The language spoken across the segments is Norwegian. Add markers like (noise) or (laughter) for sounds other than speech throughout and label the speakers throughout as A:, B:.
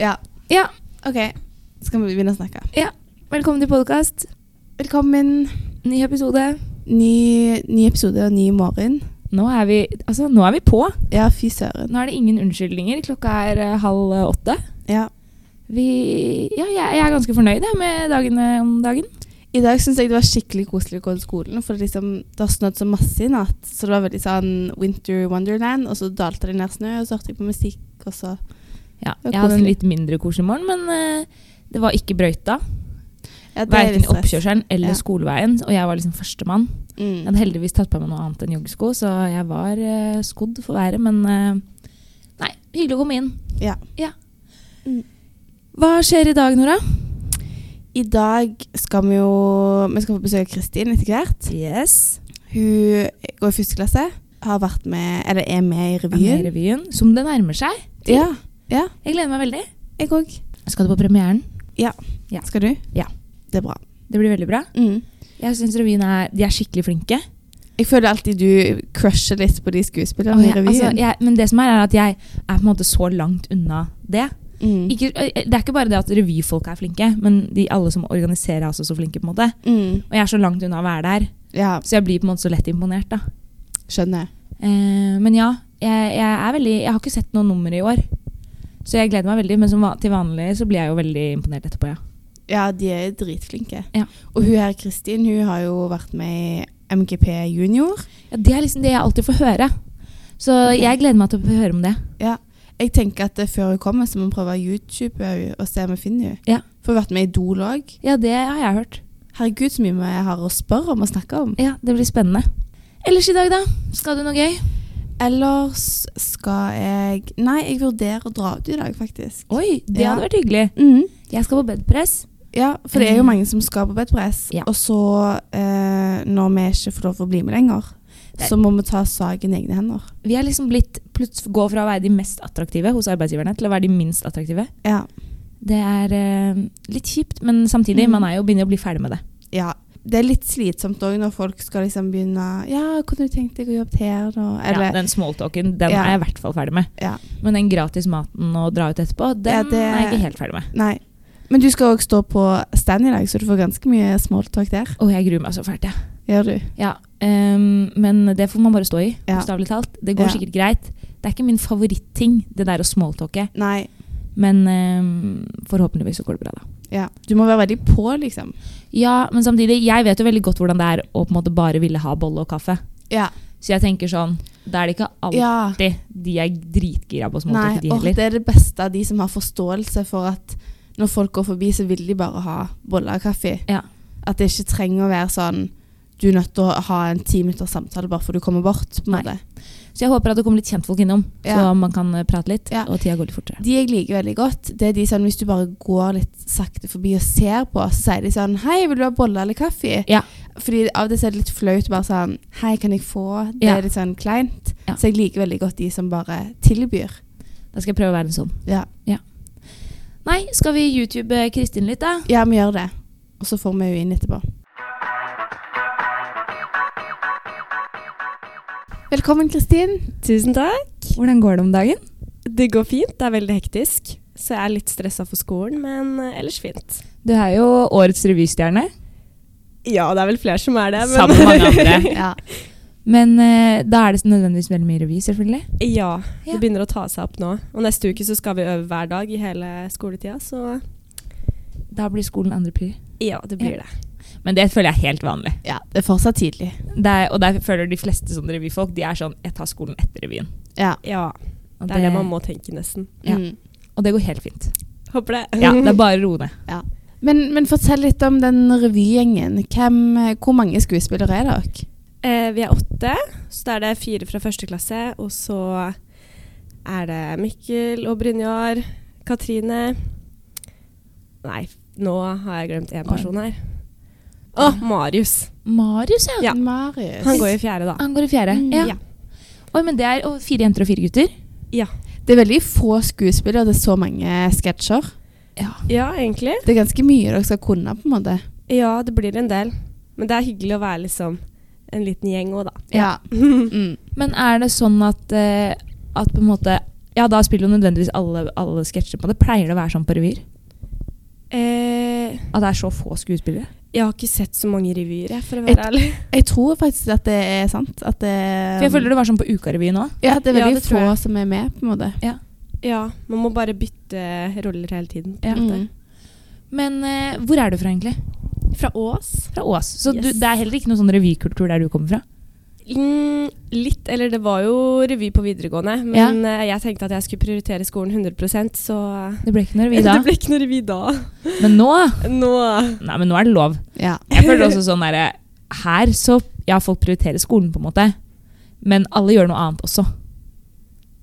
A: Ja,
B: Ja,
A: OK. Skal vi begynne å snakke?
B: velkommen til podkast.
A: Velkommen.
B: Ny episode.
A: Ny, ny episode og ny morgen.
B: Nå er vi altså, nå er vi på.
A: Ja, fy søren.
B: Nå er det ingen unnskyldninger. Klokka er eh, halv åtte.
A: Ja.
B: Vi, ja, jeg, jeg er ganske fornøyd jeg, med dagene om dagen.
A: I dag syns jeg det var skikkelig koselig å gå til skolen, for liksom, det har snødd så masse i natt. Så det var veldig sånn winter wonderland, og så dalte det ned snø, og så hørte jeg på musikk, og så
B: Ja,
A: Det var
B: jeg hadde en
A: koselig.
B: litt mindre koselig morgen, men eh, det var ikke brøyta.
A: ja, det er litt
B: Verken
A: stress.
B: oppkjørselen eller
A: Ja.
B: skoleveien. Og jeg var liksom førstemann. Jeg
A: Mm.
B: hadde heldigvis tatt på meg noe annet enn joggesko, så jeg var eh, skodd for været, men eh, Nei, hyggelig å komme inn.
A: Ja. Mm.
B: Hva skjer i dag, Nora?
A: I dag skal vi jo Vi skal få besøke Kristin etter hvert.
B: Yes.
A: Hun går i første klasse, har vært med, eller er med i
B: Revyen.
A: revyen.
B: revyen. Som det nærmer seg. til.
A: Ja, ja,
B: Jeg gleder meg veldig.
A: jeg òg.
B: Skal du på premieren? Ja.
A: Skal du?
B: Ja.
A: Det er bra.
B: Det blir veldig bra.
A: Mm.
B: Jeg syns revyen er De er skikkelig flinke.
A: Jeg føler alltid du crusher litt på de skuespillerne
B: Og
A: i
B: jeg,
A: revyen.
B: altså, jeg, men det som er, er at jeg er på en måte så langt unna det.
A: mm.
B: Ikke, det er ikke bare det at revyfolk er flinke, men de alle som organiserer er også så flinke. på en måte.
A: Mm.
B: Og jeg er så langt unna å være der,
A: Ja,
B: så jeg blir på en måte så lett imponert. da.
A: skjønner.
B: Eh, men ja, jeg, jeg er veldig Jeg har ikke sett noe nummer i år, så jeg gleder meg veldig. Men som va til vanlig så blir jeg jo veldig imponert etterpå, ja.
A: Ja, de er dritflinke.
B: Ja.
A: Og hun her, Kristin, hun har jo vært med i MGP junior.
B: ja. Det er liksom det jeg alltid får høre. Så
A: Ok.
B: jeg gleder meg til å høre om det.
A: Ja. Jeg tenker at eh, før hun kommer, så må vi prøve å YouTube henne og se om vi finner henne.
B: Ja.
A: For hun har vært med i Idol òg.
B: Ja, det har jeg hørt.
A: Herregud, så mye vi har å spørre om og snakke om.
B: Ja, Det blir spennende. Ellers i dag, da? Skal du noe gøy?
A: Ellers skal jeg Nei, jeg vurderer å dra ut i dag, faktisk.
B: Oi, det
A: Ja.
B: hadde vært hyggelig.
A: Mhm.
B: Jeg skal på bedpress.
A: Ja, for det er jo mange som skal på bedpress.
B: Eh. Ja.
A: Og så, eh, når vi ikke får lov å bli med lenger,
B: Nei.
A: så må vi ta saken i egne hender.
B: Vi er liksom blitt plutselig gå fra å være de mest attraktive hos arbeidsgiverne til å være de minst attraktive.
A: Ja.
B: Det er eh, litt kjipt, men samtidig,
A: Mm.
B: man er jo begynner å bli ferdig med det.
A: ja. Det er litt slitsomt òg når folk skal liksom begynne Ja, kunne du tenkt deg å jobbe her, da? Eller,
B: ja, den smalltalken den
A: Ja.
B: er jeg i hvert fall ferdig med.
A: Ja.
B: Men den gratis maten og dra ut etterpå, den
A: Ja, det-
B: er jeg ikke helt ferdig med.
A: Nei. Men du skal òg stå på stand i dag, så du får ganske mye smalltalk der.
B: Og jeg gruer meg så fælt, jeg.
A: Gjør du?
B: Ja. ehm, men det får man bare stå i,
A: Ja.
B: bokstavelig talt. Det går
A: Ja.
B: sikkert greit. Det er ikke min favoritting, det der å smalltalke.
A: Nei.
B: Men ehm, forhåpentligvis så går det bra, da.
A: Ja. Du må være veldig på, liksom.
B: Ja, men samtidig, jeg vet jo veldig godt hvordan det er å på en måte bare ville ha bolle og kaffe.
A: Ja.
B: Så jeg tenker sånn, da er det ikke alltid
A: ja.
B: de er dritgira på
A: Nei,
B: småtalk, de
A: og
B: heller.
A: det er det beste av de som har forståelse for at når folk går forbi, så vil de bare ha boller og kaffe.
B: Ja.
A: At det ikke trenger å være sånn du er nødt til å ha en ti minutter samtale bare for du kommer bort. på en
B: Nei.
A: måte.
B: Så jeg håper at det kommer litt kjentfolk innom,
A: Ja.
B: så man kan eh, prate litt,
A: Ja.
B: og tida går litt fortere.
A: De jeg liker veldig godt, det er de sånn hvis du bare går litt sakte forbi og ser på, så sier de sånn Hei, vil du ha boller eller kaffe?
B: Ja.
A: Fordi av og til så er det litt flaut bare sånn Hei, kan jeg få? Det
B: Ja.
A: er litt sånn kleint.
B: Ja.
A: Så jeg liker veldig godt de som bare tilbyr.
B: Da skal jeg prøve å være en sånn.
A: Ja,
B: Nei, skal vi YouTube eh, Kristin litt, da?
A: ja vi gjør det. Og så får vi jo inn etterpå. Velkommen, Kristin.
C: Tusen takk.
B: Hvordan går det om dagen?
C: Det går fint. Det er veldig hektisk. Så jeg er litt stressa for skolen, men eh, ellers fint.
B: Du er jo årets revystjerne,
C: Ja, det er vel flere som er det. Men
B: sammen med mange
C: (laughs)
B: andre.
A: Ja.
B: Men eh, da er det nødvendigvis veldig mye revy, selvfølgelig.
C: ja,
B: Ja.
C: det begynner å ta seg opp nå. Og neste uke så skal vi øve hver dag i hele skoletida, så
B: Da blir skolen andre pri.
C: ja, det blir det.
B: Men det føler jeg er helt vanlig.
A: ja, det er fortsatt tidlig.
B: Det er, og der føler de fleste sånne revyfolk, de er sånn Jeg tar skolen etter revyen.
A: Ja.
C: Ja,
B: Og
C: det er det man må tenke, nesten.
B: Ja.
A: Mm.
B: Og det går helt fint.
C: Håper det.
B: Ja, det er bare å roe (laughs) ned.
A: Men, men fortell litt om den revygjengen. Hvem- Hvor mange skuespillere er dere?
C: Eh, vi er åtte, så da er det fire fra første klasse. Og så er det Mikkel og Brynjar, Katrine Nei, nå har jeg glemt én person her. Å, Marius.
B: Marius, ja.
C: Ja.
A: Marius.
C: Han går i fjerde, da.
B: Han går i fjerde.
A: Mm.
B: Ja.
C: Ja.
B: Oi, men det er og fire jenter og fire gutter.
A: Det er veldig få skuespillere, det er så mange sketsjer.
C: Ja, egentlig.
A: Det er ganske mye dere skal kunne, på en måte.
C: Ja, det blir en del. Men det er hyggelig å være liksom en liten gjeng òg, da.
A: Ja. Mm.
B: Men er det sånn at, eh, at på en måte Ja, da spiller jo nødvendigvis alle, alle sketsjer på det. Pleier det å være sånn på revyer?
C: Eh,
B: At det er så få skuespillere?
C: jeg har ikke sett så mange revyer, jeg, for å
A: Et-
C: være ærlig.
A: Jeg tror faktisk at det er sant. At det,
B: For
C: Um,
B: jeg føler det var sånn på Ukarevyen òg.
A: ja, det er
C: Ja,
A: veldig
C: det tror
A: få
C: jeg.
A: som er med, på en måte.
C: Ja, man må bare bytte roller hele tiden. på
B: Ja.
C: en måte.
A: Mm.
B: Men eh, hvor er du fra, egentlig?
C: Fra Ås?
B: Fra Ås. Så
C: Yes.
B: du, det er heller ikke noe sånn revykultur der du kommer fra?
C: Mm, litt, eller det var jo revy på videregående, men eh, jeg tenkte at jeg skulle prioritere skolen 100 så eh,
B: Det ble ikke noe
C: (laughs)
B: revy da.
C: det ble ikke noe revy da.
B: Men nå
C: Nå
B: Nei, men nå er det lov.
A: Ja.
B: Jeg føler også sånn derre Her så Ja, folk prioriterer skolen, på en måte. Men alle gjør noe annet også.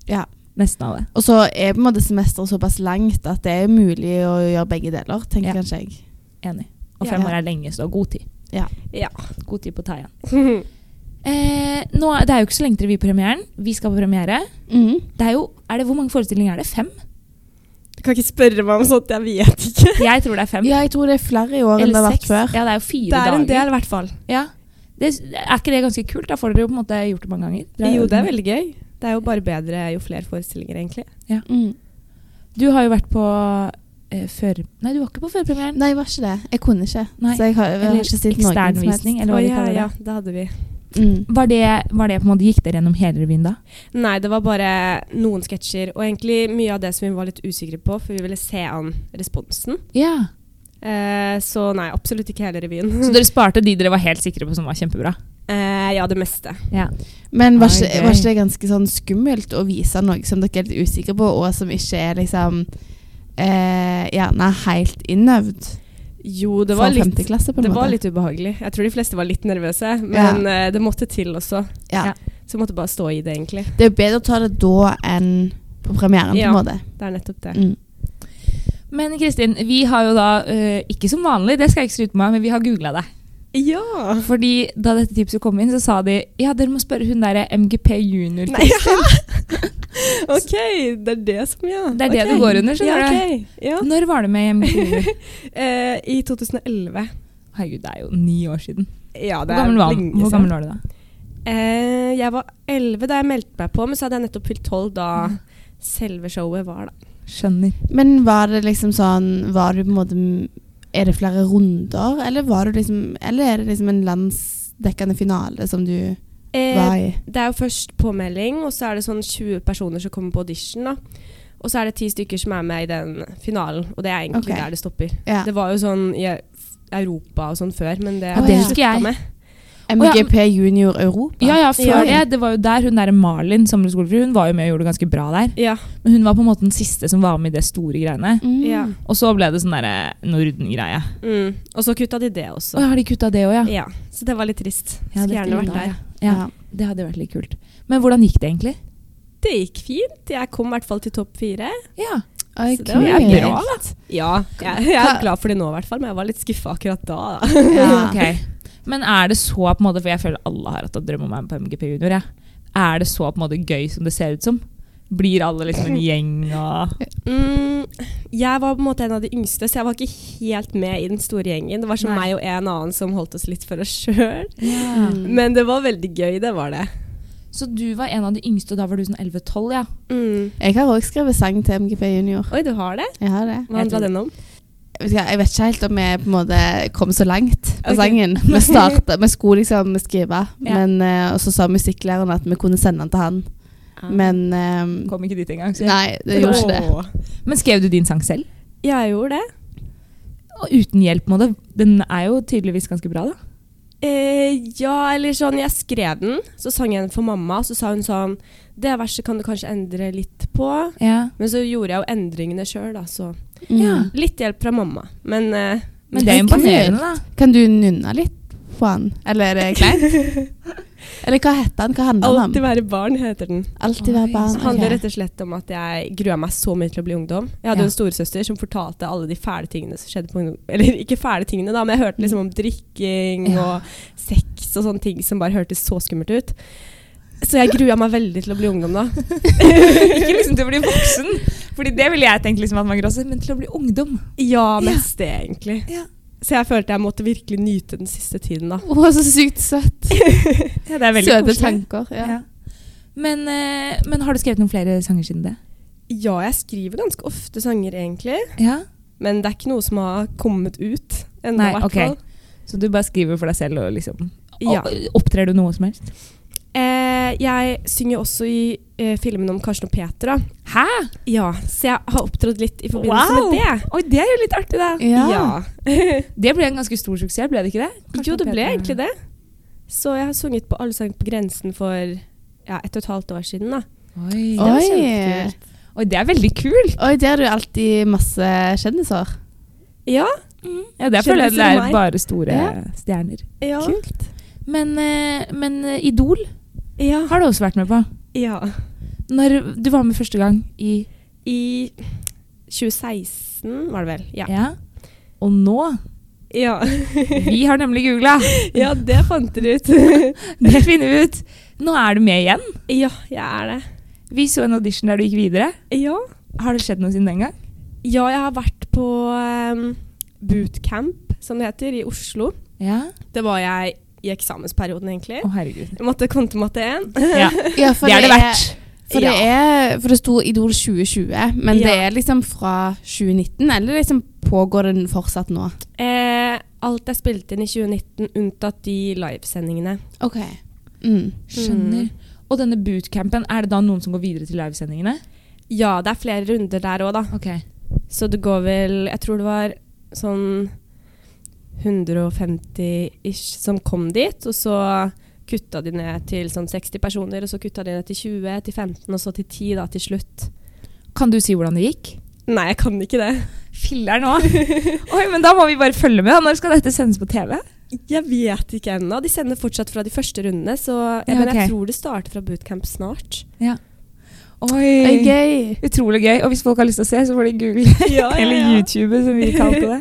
A: Ja.
B: Nesten alle.
A: Og så er på en måte semesteret såpass langt at det er mulig å gjøre begge deler, tenker
B: Ja.
A: kanskje jeg.
B: Enig. Og
C: Ja.
B: fem år er lenge, så du har god tid.
C: Ja.
B: God tid på å ta igjen. Eh, nå, er- det er jo ikke så lenge til revypremieren. Vi skal på premiere.
A: Mhm.
B: Det er jo, er det, hvor mange forestillinger er det? Fem?
C: Du kan ikke spørre meg om sånt, jeg vet ikke.
B: Jeg tror det
C: (laughs)
B: er fem.
A: Ja, jeg tror det er flere i år enn det har
B: Eller
A: vært
B: seks.
A: før.
B: Ja, det er jo fire
C: Det er
B: dager.
C: en del, i hvert fall.
B: Ja. Det, er ikke det ganske kult? Da får dere jo på en måte gjort det mange ganger. Dere har
C: Jo,
B: øvd
C: det er
B: mye.
C: veldig gøy. Det er jo bare bedre jo flere forestillinger, egentlig.
A: Mm.
B: Du har jo vært på eh, før... Nei, du var ikke på førpremieren.
A: Nei, jeg var ikke det. Jeg kunne ikke.
B: Nei.
A: Så jeg har, jeg har
B: Eller
A: ikke stilt noen som helst.
B: eksternvisning, eller hva
C: Å,
B: de
C: ja,
B: kaller det.
C: ja, det hadde vi.
A: Mm.
B: Var det, var det på en måte, Gikk dere gjennom hele revyen da?
C: Nei, det var bare noen sketsjer, og egentlig mye av det som vi var litt usikre på, for vi ville se an responsen.
B: Ja.
C: Eh, så nei, absolutt ikke hele revyen.
B: Så dere sparte de dere var helt sikre på som var kjempebra?
C: (laughs) Eh, ja, det meste.
B: Ja.
A: Men var
B: Nei,
A: ikke,
B: gøy.
A: var ikke det ganske sånn skummelt å vise noe som dere er litt usikre på, og som ikke er liksom eh, gjerne helt innøvd
C: Jo, det var
A: for
C: litt
A: femteklasse, på en
C: Det
A: måte?
C: var litt ubehagelig. Jeg tror de fleste var litt nervøse, men eh, det måtte til også.
A: ja.
B: ja.
C: Så jeg måtte bare stå i det, egentlig.
A: Det er jo bedre å ta det da enn på premieren,
C: Ja.
A: på en måte.
C: Det er nettopp det.
A: Mm.
B: Men Kristin, vi har jo da, eh, ikke som vanlig, det skal jeg ikke skryte på meg, men vi har googla deg.
C: Ja!
B: Fordi da dette tipset kom inn, så sa de ja, dere må spørre hun eh, derre MGP junior.
C: Nei, ja. (laughs) OK, det er det som Ja.
B: Det er det
C: Ok.
B: det går under, skjønner
C: ja,
B: du.
C: ok. Ja.
B: Når var du med i MGP junior?
C: Eh, I 2011.
B: Herregud, det er jo ni år siden.
C: Ja,
B: Hvor gammel var,
C: lenge
B: hvor
C: siden.
B: gammel var du da?
C: Eh, jeg var 11 da jeg meldte meg på, men så hadde jeg nettopp fylt 12 da
B: Mm.
C: selve showet var, da.
B: Skjønner.
A: Men var det liksom sånn Var du på en måte Er det flere runder, eller var du liksom Eller er det liksom en landsdekkende finale som du
C: Eh,
A: var i?
C: det er jo først påmelding, og så er det sånn 20 personer som kommer på audition, da. Og så er det ti stykker som er med i den finalen, og det er egentlig
A: Ok.
C: der det stopper.
A: Ja.
C: Det var jo sånn i Europa og sånn før, men det
A: Ja, det
B: husker jeg.
C: med.
A: MGP Junior Europa.
B: Ja, ja,
C: Ja.
B: før det. Det var jo der hun derre Malin, sommerskolefru, hun var jo med og gjorde det ganske bra der.
C: Ja,
B: Men hun var på en måte den siste som var med i det store greiene.
A: Mm.
C: ja.
B: Og så ble det sånn derre Norden-greie.
C: Mm. Og så kutta de det
B: Å,
C: også.
B: har de kutta det òg, ja?
C: Ja, så det var litt trist.
B: Ja,
C: Skulle
B: det
C: gjerne vært
B: skulle
C: der.
B: Ja. Det hadde vært litt kult. Men hvordan gikk det egentlig?
C: Det gikk fint. Jeg kom i hvert fall til topp fire.
B: Ja.
A: Oi,
C: Så det var
A: kult.
C: jo bra, Ja, jeg, jeg
A: Hva-
C: er glad for det nå i hvert fall, men jeg var litt skuffa akkurat da. da.
A: Ja.
B: Ok. (laughs) Men er det så på en måte For jeg føler alle har hatt en drøm om å være med på MGP Junior. Jeg. Er det så på en måte gøy som det ser ut som? Blir alle liksom en gjeng og
C: Mm, jeg var på en måte en av de yngste, så jeg var ikke helt med i den store gjengen. Det var som
B: Nei.
C: meg og en annen som holdt oss litt for oss sjøl.
A: Mm.
C: Men det var veldig gøy, det var det.
B: Så du var en av de yngste, og da var du sånn 11-12, ja?
C: Mm.
A: Jeg har òg skrevet sang til MGP Junior.
C: Oi, du har det?
A: Jeg har det.
C: Hva handla den om?
A: Jeg vet, ikke, jeg vet ikke helt om jeg på en måte kom så langt på
C: Ok.
A: sangen. Vi startet, vi skulle liksom skrive,
B: Ja.
A: men, eh, og så sa musikklæreren at vi kunne sende den til han.
C: Ah.
A: Men eh,
B: Kom ikke dit engang. så-
A: Nei, det gjorde ikke det.
C: Åh.
B: Men skrev du din sang selv?
C: Ja, jeg gjorde det.
B: Og uten hjelp, på en måte. Den er jo tydeligvis ganske bra, da.
C: Eh, ja, eller sånn Jeg skrev den, så sang jeg den for mamma. Så sa hun sånn Det verset kan du kanskje endre litt på.
B: Ja.
C: Men så gjorde jeg jo endringene sjøl, da, så
A: Mm.
B: Ja.
C: Litt hjelp fra mamma. Men eh,
B: Men det er
A: Kult.
B: imponerende, da.
A: Kan du nynne litt på han? Eller er det kleint? Eller hva heter han? Hva handler han
C: Alltid
A: om?
C: være barn heter den.
A: Alltid være
B: Oi,
A: barn.
B: så
C: Som handler
A: ok.
C: rett og slett om at jeg grua meg så mye til å bli ungdom. Jeg
B: Ja.
C: hadde en storesøster som fortalte alle de fæle tingene som skjedde på ungdom... (laughs) Eller ikke fæle tingene, da, men jeg hørte liksom om drikking
B: Ja.
C: og sex og sånne ting som bare hørtes så skummelt ut. Så jeg grua meg veldig til å bli ungdom da.
B: (laughs) ikke liksom til å bli voksen. Fordi det ville jeg tenkt liksom at man grosser, men til å bli ungdom.
C: Ja, mest det, egentlig.
B: Ja.
C: Så jeg følte jeg måtte virkelig nyte den siste tiden, da.
A: Å, så sykt søtt.
B: Ja, det er
A: Søte tanker. Ja.
B: Ja. Men, eh, men har du skrevet noen flere sanger siden det?
C: Ja, jeg skriver ganske ofte sanger, egentlig.
B: Ja.
C: Men det er ikke noe som har kommet ut ennå,
B: Nei,
C: i hvert
B: ok.
C: fall.
B: Så du bare skriver for deg selv og liksom
C: Ja.
B: O- Opptrer du noe som helst?
C: Eh, jeg synger jo også i eh, filmen om Karsten og Peter, da.
B: Hæ?
C: Ja, så jeg har opptrådt litt i forbindelse
B: Wow!
C: med det.
B: Oi, det er jo litt artig, da.
A: Ja.
B: Det ble en ganske stor suksess, ble det ikke det?
C: Jo, det ble egentlig det. Så jeg har sunget på Allsang på grensen for ja, et og et halvt år siden, da.
B: Oi.
C: Det var
A: Oi.
C: kjempekult.
B: Oi, det er veldig kult.
A: Oi, der er det jo alltid masse Mm. kjendiser.
C: Ja,
B: Ja, det føler jeg det
C: Kjendiser og
B: er
C: meg.
B: bare store
A: Ja.
B: stjerner.
C: ja,
A: Kult.
B: Men, eh, men eh, Idol
C: ja,
B: har du også vært med på.
C: ja.
B: Når du var med første gang i
C: I 2016 var det vel? Ja.
B: Ja. Og nå (laughs)
C: (laughs) Ja,
B: Vi har nemlig googla!
C: ja det fant dere ut.
B: Det finner vi ut. Nå er du med igjen.
C: ja, jeg er det.
B: Vi så en audition der du gikk videre.
C: Ja.
B: Har det skjedd noe siden den gang?
C: ja, jeg har vært på em, bootcamp, som det heter, i Oslo.
B: Ja.
C: Det var jeg i eksamensperioden, egentlig.
B: Å, herregud.
C: (laughs) Jeg måtte kvantematte 1.
B: Ja.
A: Ja, for
B: (laughs) Det er det
A: er-
B: verdt.
A: For, det er, for det sto Idol 2020, men
C: Ja.
A: det er liksom fra 2019, eller liksom pågår den fortsatt nå?
C: Eh, alt jeg spilte inn i 2019, unntatt de livesendingene.
A: Ok. Mm.
B: Skjønner.
C: Mm.
B: Og denne bootcampen, er det da noen som går videre til livesendingene?
C: Ja, det er flere runder der òg, da.
B: Ok.
C: Så det går vel Jeg tror det var sånn 150-ish som kom dit, og så kutta de ned til sånn 60 personer, og så kutta de ned til 20, til 15, og så til 10 da til slutt.
B: Kan du si hvordan det gikk?
C: Nei, jeg kan ikke det.
B: Filler'n òg! (laughs) Oi, men da må vi bare følge med. da. Når skal dette sendes på TV?
C: Jeg vet ikke ennå. De sender fortsatt fra de første rundene, så jeg,
B: Ja,
C: men
B: ok.
C: jeg tror det starter fra bootcamp snart.
A: Oi,
B: Oi,
A: gøy.
B: Utrolig gøy. Og hvis folk har lyst til å se, så får de google.
C: Ja,
B: Eller YouTube, som vi kalte det.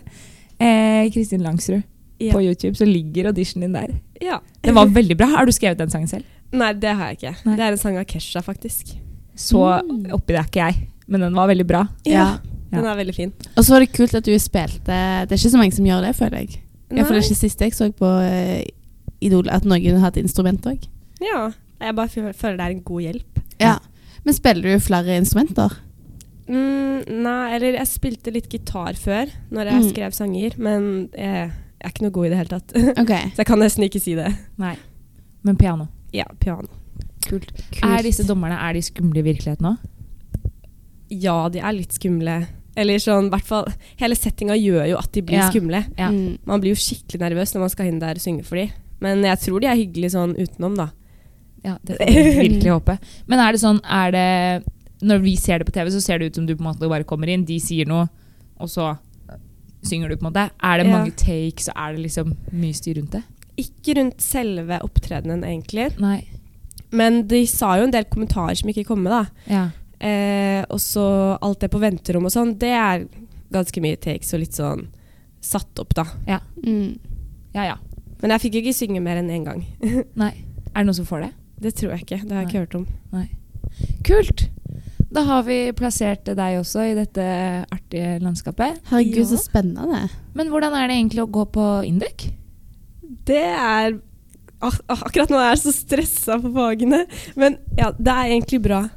B: Eh, Kristin Langsrud
C: Ja.
B: på YouTube, så ligger auditionen din der.
C: Ja.
B: Det var veldig bra. Har du skrevet den sangen selv?
C: Nei, det har jeg ikke.
B: Nei.
C: Det er en sang av Kesha, faktisk.
B: Så
A: Mm.
B: oppi det er ikke jeg, men den var veldig bra.
A: Ja.
C: Den er veldig fin.
A: Og så var det kult at du spilte Det er ikke så mange som gjør det, føler jeg. Ja, for det er ikke siste jeg så på eh, Idol at noen hadde instrument òg.
C: ja. Jeg bare fø- føler det er en god hjelp.
A: Ja. Men spiller du flere instrumenter?
C: Mm, nei, eller jeg spilte litt gitar før når jeg
A: Mm.
C: skrev sanger, men jeg, jeg er ikke noe god i det hele tatt.
A: Ok.
C: (laughs) Så jeg kan nesten ikke si det.
B: Nei. Men piano.
C: Ja, piano.
B: Kult. Er disse dommerne er de skumle i virkeligheten òg?
C: Ja, de er litt skumle. Eller sånn, i hvert fall Hele settinga gjør jo at de blir
B: Ja.
C: skumle.
B: Ja.
A: Mm.
C: Man blir jo skikkelig nervøs når man skal inn der og synge for de. Men jeg tror de er hyggelige sånn utenom, da.
B: Ja, det får vi virkelig håpe. Men er det sånn er det, Når vi ser det på TV, så ser det ut som du på en måte bare kommer inn, de sier noe, og så synger du, på en måte. Er det
C: Ja.
B: mange takes, og er det liksom mye styr rundt det?
C: Ikke rundt selve opptredenen, egentlig.
B: Nei.
C: Men de sa jo en del kommentarer som ikke kom med, da.
B: Ja.
C: Eh, og så alt det på venterom og sånn, det er ganske mye takes og litt sånn satt opp, da.
A: Mm.
B: ja ja.
C: Men jeg fikk ikke synge mer enn én gang.
B: Nei. Er det noen som får det?
C: Det tror jeg ikke. Det har jeg ikke hørt om.
B: Kult! Da har vi plassert deg også i dette artige landskapet.
A: Herregud,
C: Ja.
A: så spennende.
B: Men hvordan er det egentlig å gå på Indrek?
C: Det er ak ak- Akkurat nå er jeg så stressa på fagene. Men ja, det er egentlig bra.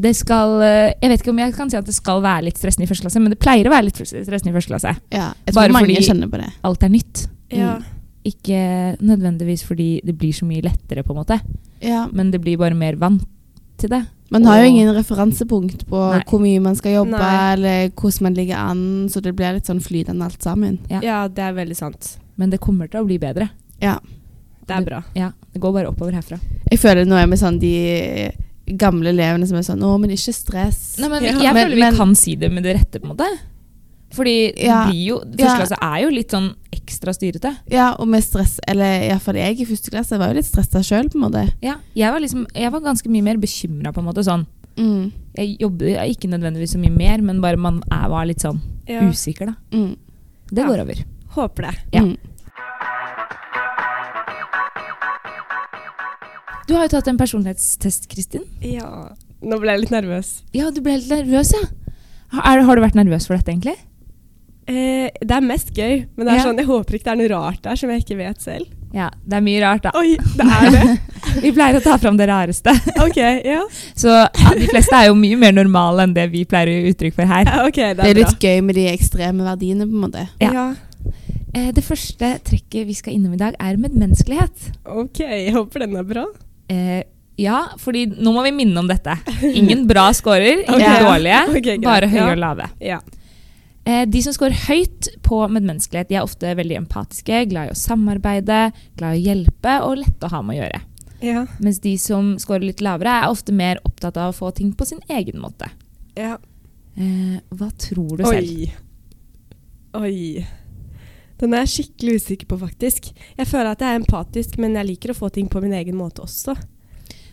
B: Det skal, eh, jeg vet ikke om jeg kan si at det skal være litt stressende i første klasse, men det pleier å være litt stressende i første klasse.
A: Ja, jeg tror
B: Bare
A: mange
B: fordi-
A: kjenner på det.
B: Alt er nytt.
A: Ja.
C: Mm.
B: Ikke nødvendigvis fordi det blir så mye lettere, på en måte,
A: Ja.
B: men det blir bare mer vant til det.
A: Man har
B: Og-
A: jo ingen referansepunkt på
B: Nei.
A: hvor mye man skal jobbe,
C: Nei.
A: eller hvordan man ligger an, så det blir litt sånn flytende alt sammen.
B: Ja.
C: Ja. det er veldig sant.
B: Men det kommer til å bli bedre.
C: Det er bra.
B: Ja, Det går bare oppover herfra.
A: Jeg føler nå er vi sånn de gamle elevene som er sånn 'Å, men ikke stress'.
B: Nei, men vi-
C: Ja.
B: Jeg
A: Men-
B: føler vi
A: men-
B: kan si det med det rette, på en måte. Fordi det
A: Ja.
B: blir jo, første
A: Ja.
B: klasse er jo litt sånn ekstra styrete.
A: Ja, og med stress Eller iallfall jeg i første klasse var jo litt stressa sjøl, på en måte.
B: Ja, jeg var, liksom, jeg var ganske mye mer bekymra, på en måte. Sånn.
A: Mm.
B: Jeg jobber jeg- ikke nødvendigvis så mye mer, men bare man er, var litt sånn
C: Ja.
B: usikker, da.
A: Mm.
B: Det
C: Ja.
B: går over.
C: Håper det.
B: Ja.
A: Mm.
B: Du har jo tatt en personlighetstest, Kristin.
C: Ja. Nå ble jeg litt nervøs.
B: Ja, du ble helt nervøs, ja. Har, er, har du vært nervøs for dette, egentlig?
C: Eh, det er mest gøy, men det er
B: Ja.
C: sånn, jeg håper ikke det er noe rart der som jeg ikke vet selv.
B: Ja, det er mye rart, da.
C: Oi, det er det.
B: Vi pleier å ta fram det rareste.
C: Ok, ja.
B: (laughs) Så ja, de fleste er jo mye mer normale enn det vi pleier å gi uttrykk for her.
C: Ja, Ok, det
A: Det
C: er
A: er
C: bra.
A: litt gøy med de ekstreme verdiene, på en måte.
B: Ja.
C: Ja.
B: Eh, Det første trekket vi skal innom i dag, er medmenneskelighet.
C: Ok, jeg håper den er bra.
B: Eh, Ja, fordi nå må vi minne om dette. Ingen bra scorer, ingen
A: Ok.
B: dårlige.
C: Ok, greit.
B: Bare høye
C: Ja.
B: og lave.
C: Ja.
B: Eh, De som scorer høyt på medmenneskelighet, de er ofte veldig empatiske, glad i å samarbeide, glad i å hjelpe og lette å ha med å gjøre.
C: Ja.
B: Mens de som scorer litt lavere, er ofte mer opptatt av å få ting på sin egen måte.
C: ja.
B: Eh, Hva tror du selv?
C: Oi. Oi. Den er jeg skikkelig usikker på, faktisk. Jeg føler at jeg er empatisk, men jeg liker å få ting på min egen måte også.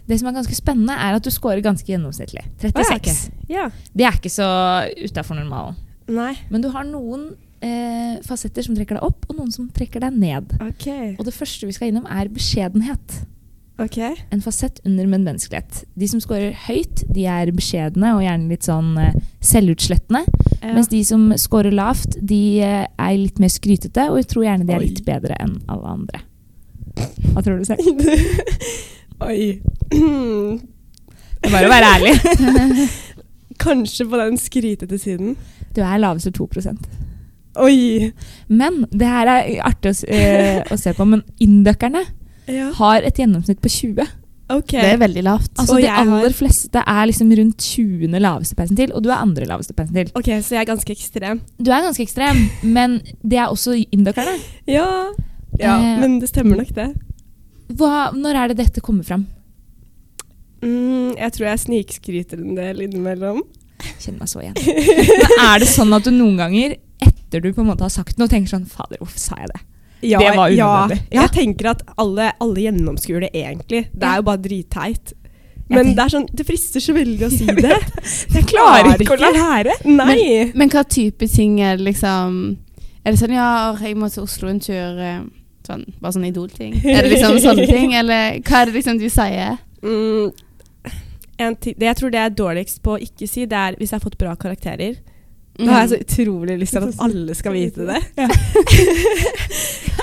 B: Det som er ganske spennende, er at du scorer ganske gjennomsnittlig. 36.
C: Ja.
B: Det er ikke så utafor normalen.
C: Nei.
B: Men du har noen eh, fasetter som trekker deg opp, og noen som trekker deg ned.
C: Ok.
B: Og det første vi skal innom, er beskjedenhet.
C: Ok.
B: En fasett under medmenneskelighet. De som scorer høyt, de er beskjedne og gjerne litt sånn eh, selvutslettende.
C: Ja.
B: Mens de som scorer lavt, de eh, er litt mer skrytete, og jeg tror gjerne de er litt bedre enn alle (laughs) andre. Hva tror du selv?
C: (laughs) Oi.
B: Det er bare å være (laughs) ærlig.
C: (laughs) Kanskje på den skrytete siden.
B: Du er laveste 2
C: Oi.
B: Men det her er artig å, s- eh, å se på, men indøkerne
C: Ja.
B: har et gjennomsnitt på 20.
C: Ok.
A: Det er veldig lavt.
B: Altså
C: Og
B: De
C: jeg har-
B: aller fleste er liksom rundt 20. laveste persentil, og du er andre laveste persentil.
C: Ok, så jeg er ganske ekstrem.
B: Du er ganske ekstrem, men det er også indøkerne.
C: Ja. ja.
B: Eh.
C: Men det stemmer nok, det.
B: Hva, når er det dette kommer fram?
C: Mm, jeg tror jeg snikskryter en del innimellom.
B: Kjenner meg så (laughs) igjen. Men er det sånn at du noen ganger, etter du på en måte har sagt noe, tenker sånn Fader, hvorfor sa jeg det?
C: Ja,
B: Det var
C: ja.
B: unødvendig. Ja.
C: Jeg tenker at alle, alle gjennomskuer det egentlig. Det
B: Ja.
C: er jo bare dritteit. Men
B: tenk-
C: det er sånn, det frister så veldig (laughs) å si
B: Jeg vet
C: det.
B: Jeg klarer ikke å la være!
C: Nei.
A: Men hva type ting er det liksom Er det sånn ja, jeg må til Oslo en tur eh, sånn, Bare sånn
C: (laughs)
A: Idol-ting? Er det liksom sånne ting? Eller hva er det liksom du sier?
C: Mm, en ti- det jeg tror det jeg er dårligst på å ikke si, det er hvis jeg har fått bra karakterer. Da
A: Mm.
C: har jeg så utrolig lyst til at alle skal vite (laughs) det.
B: (laughs)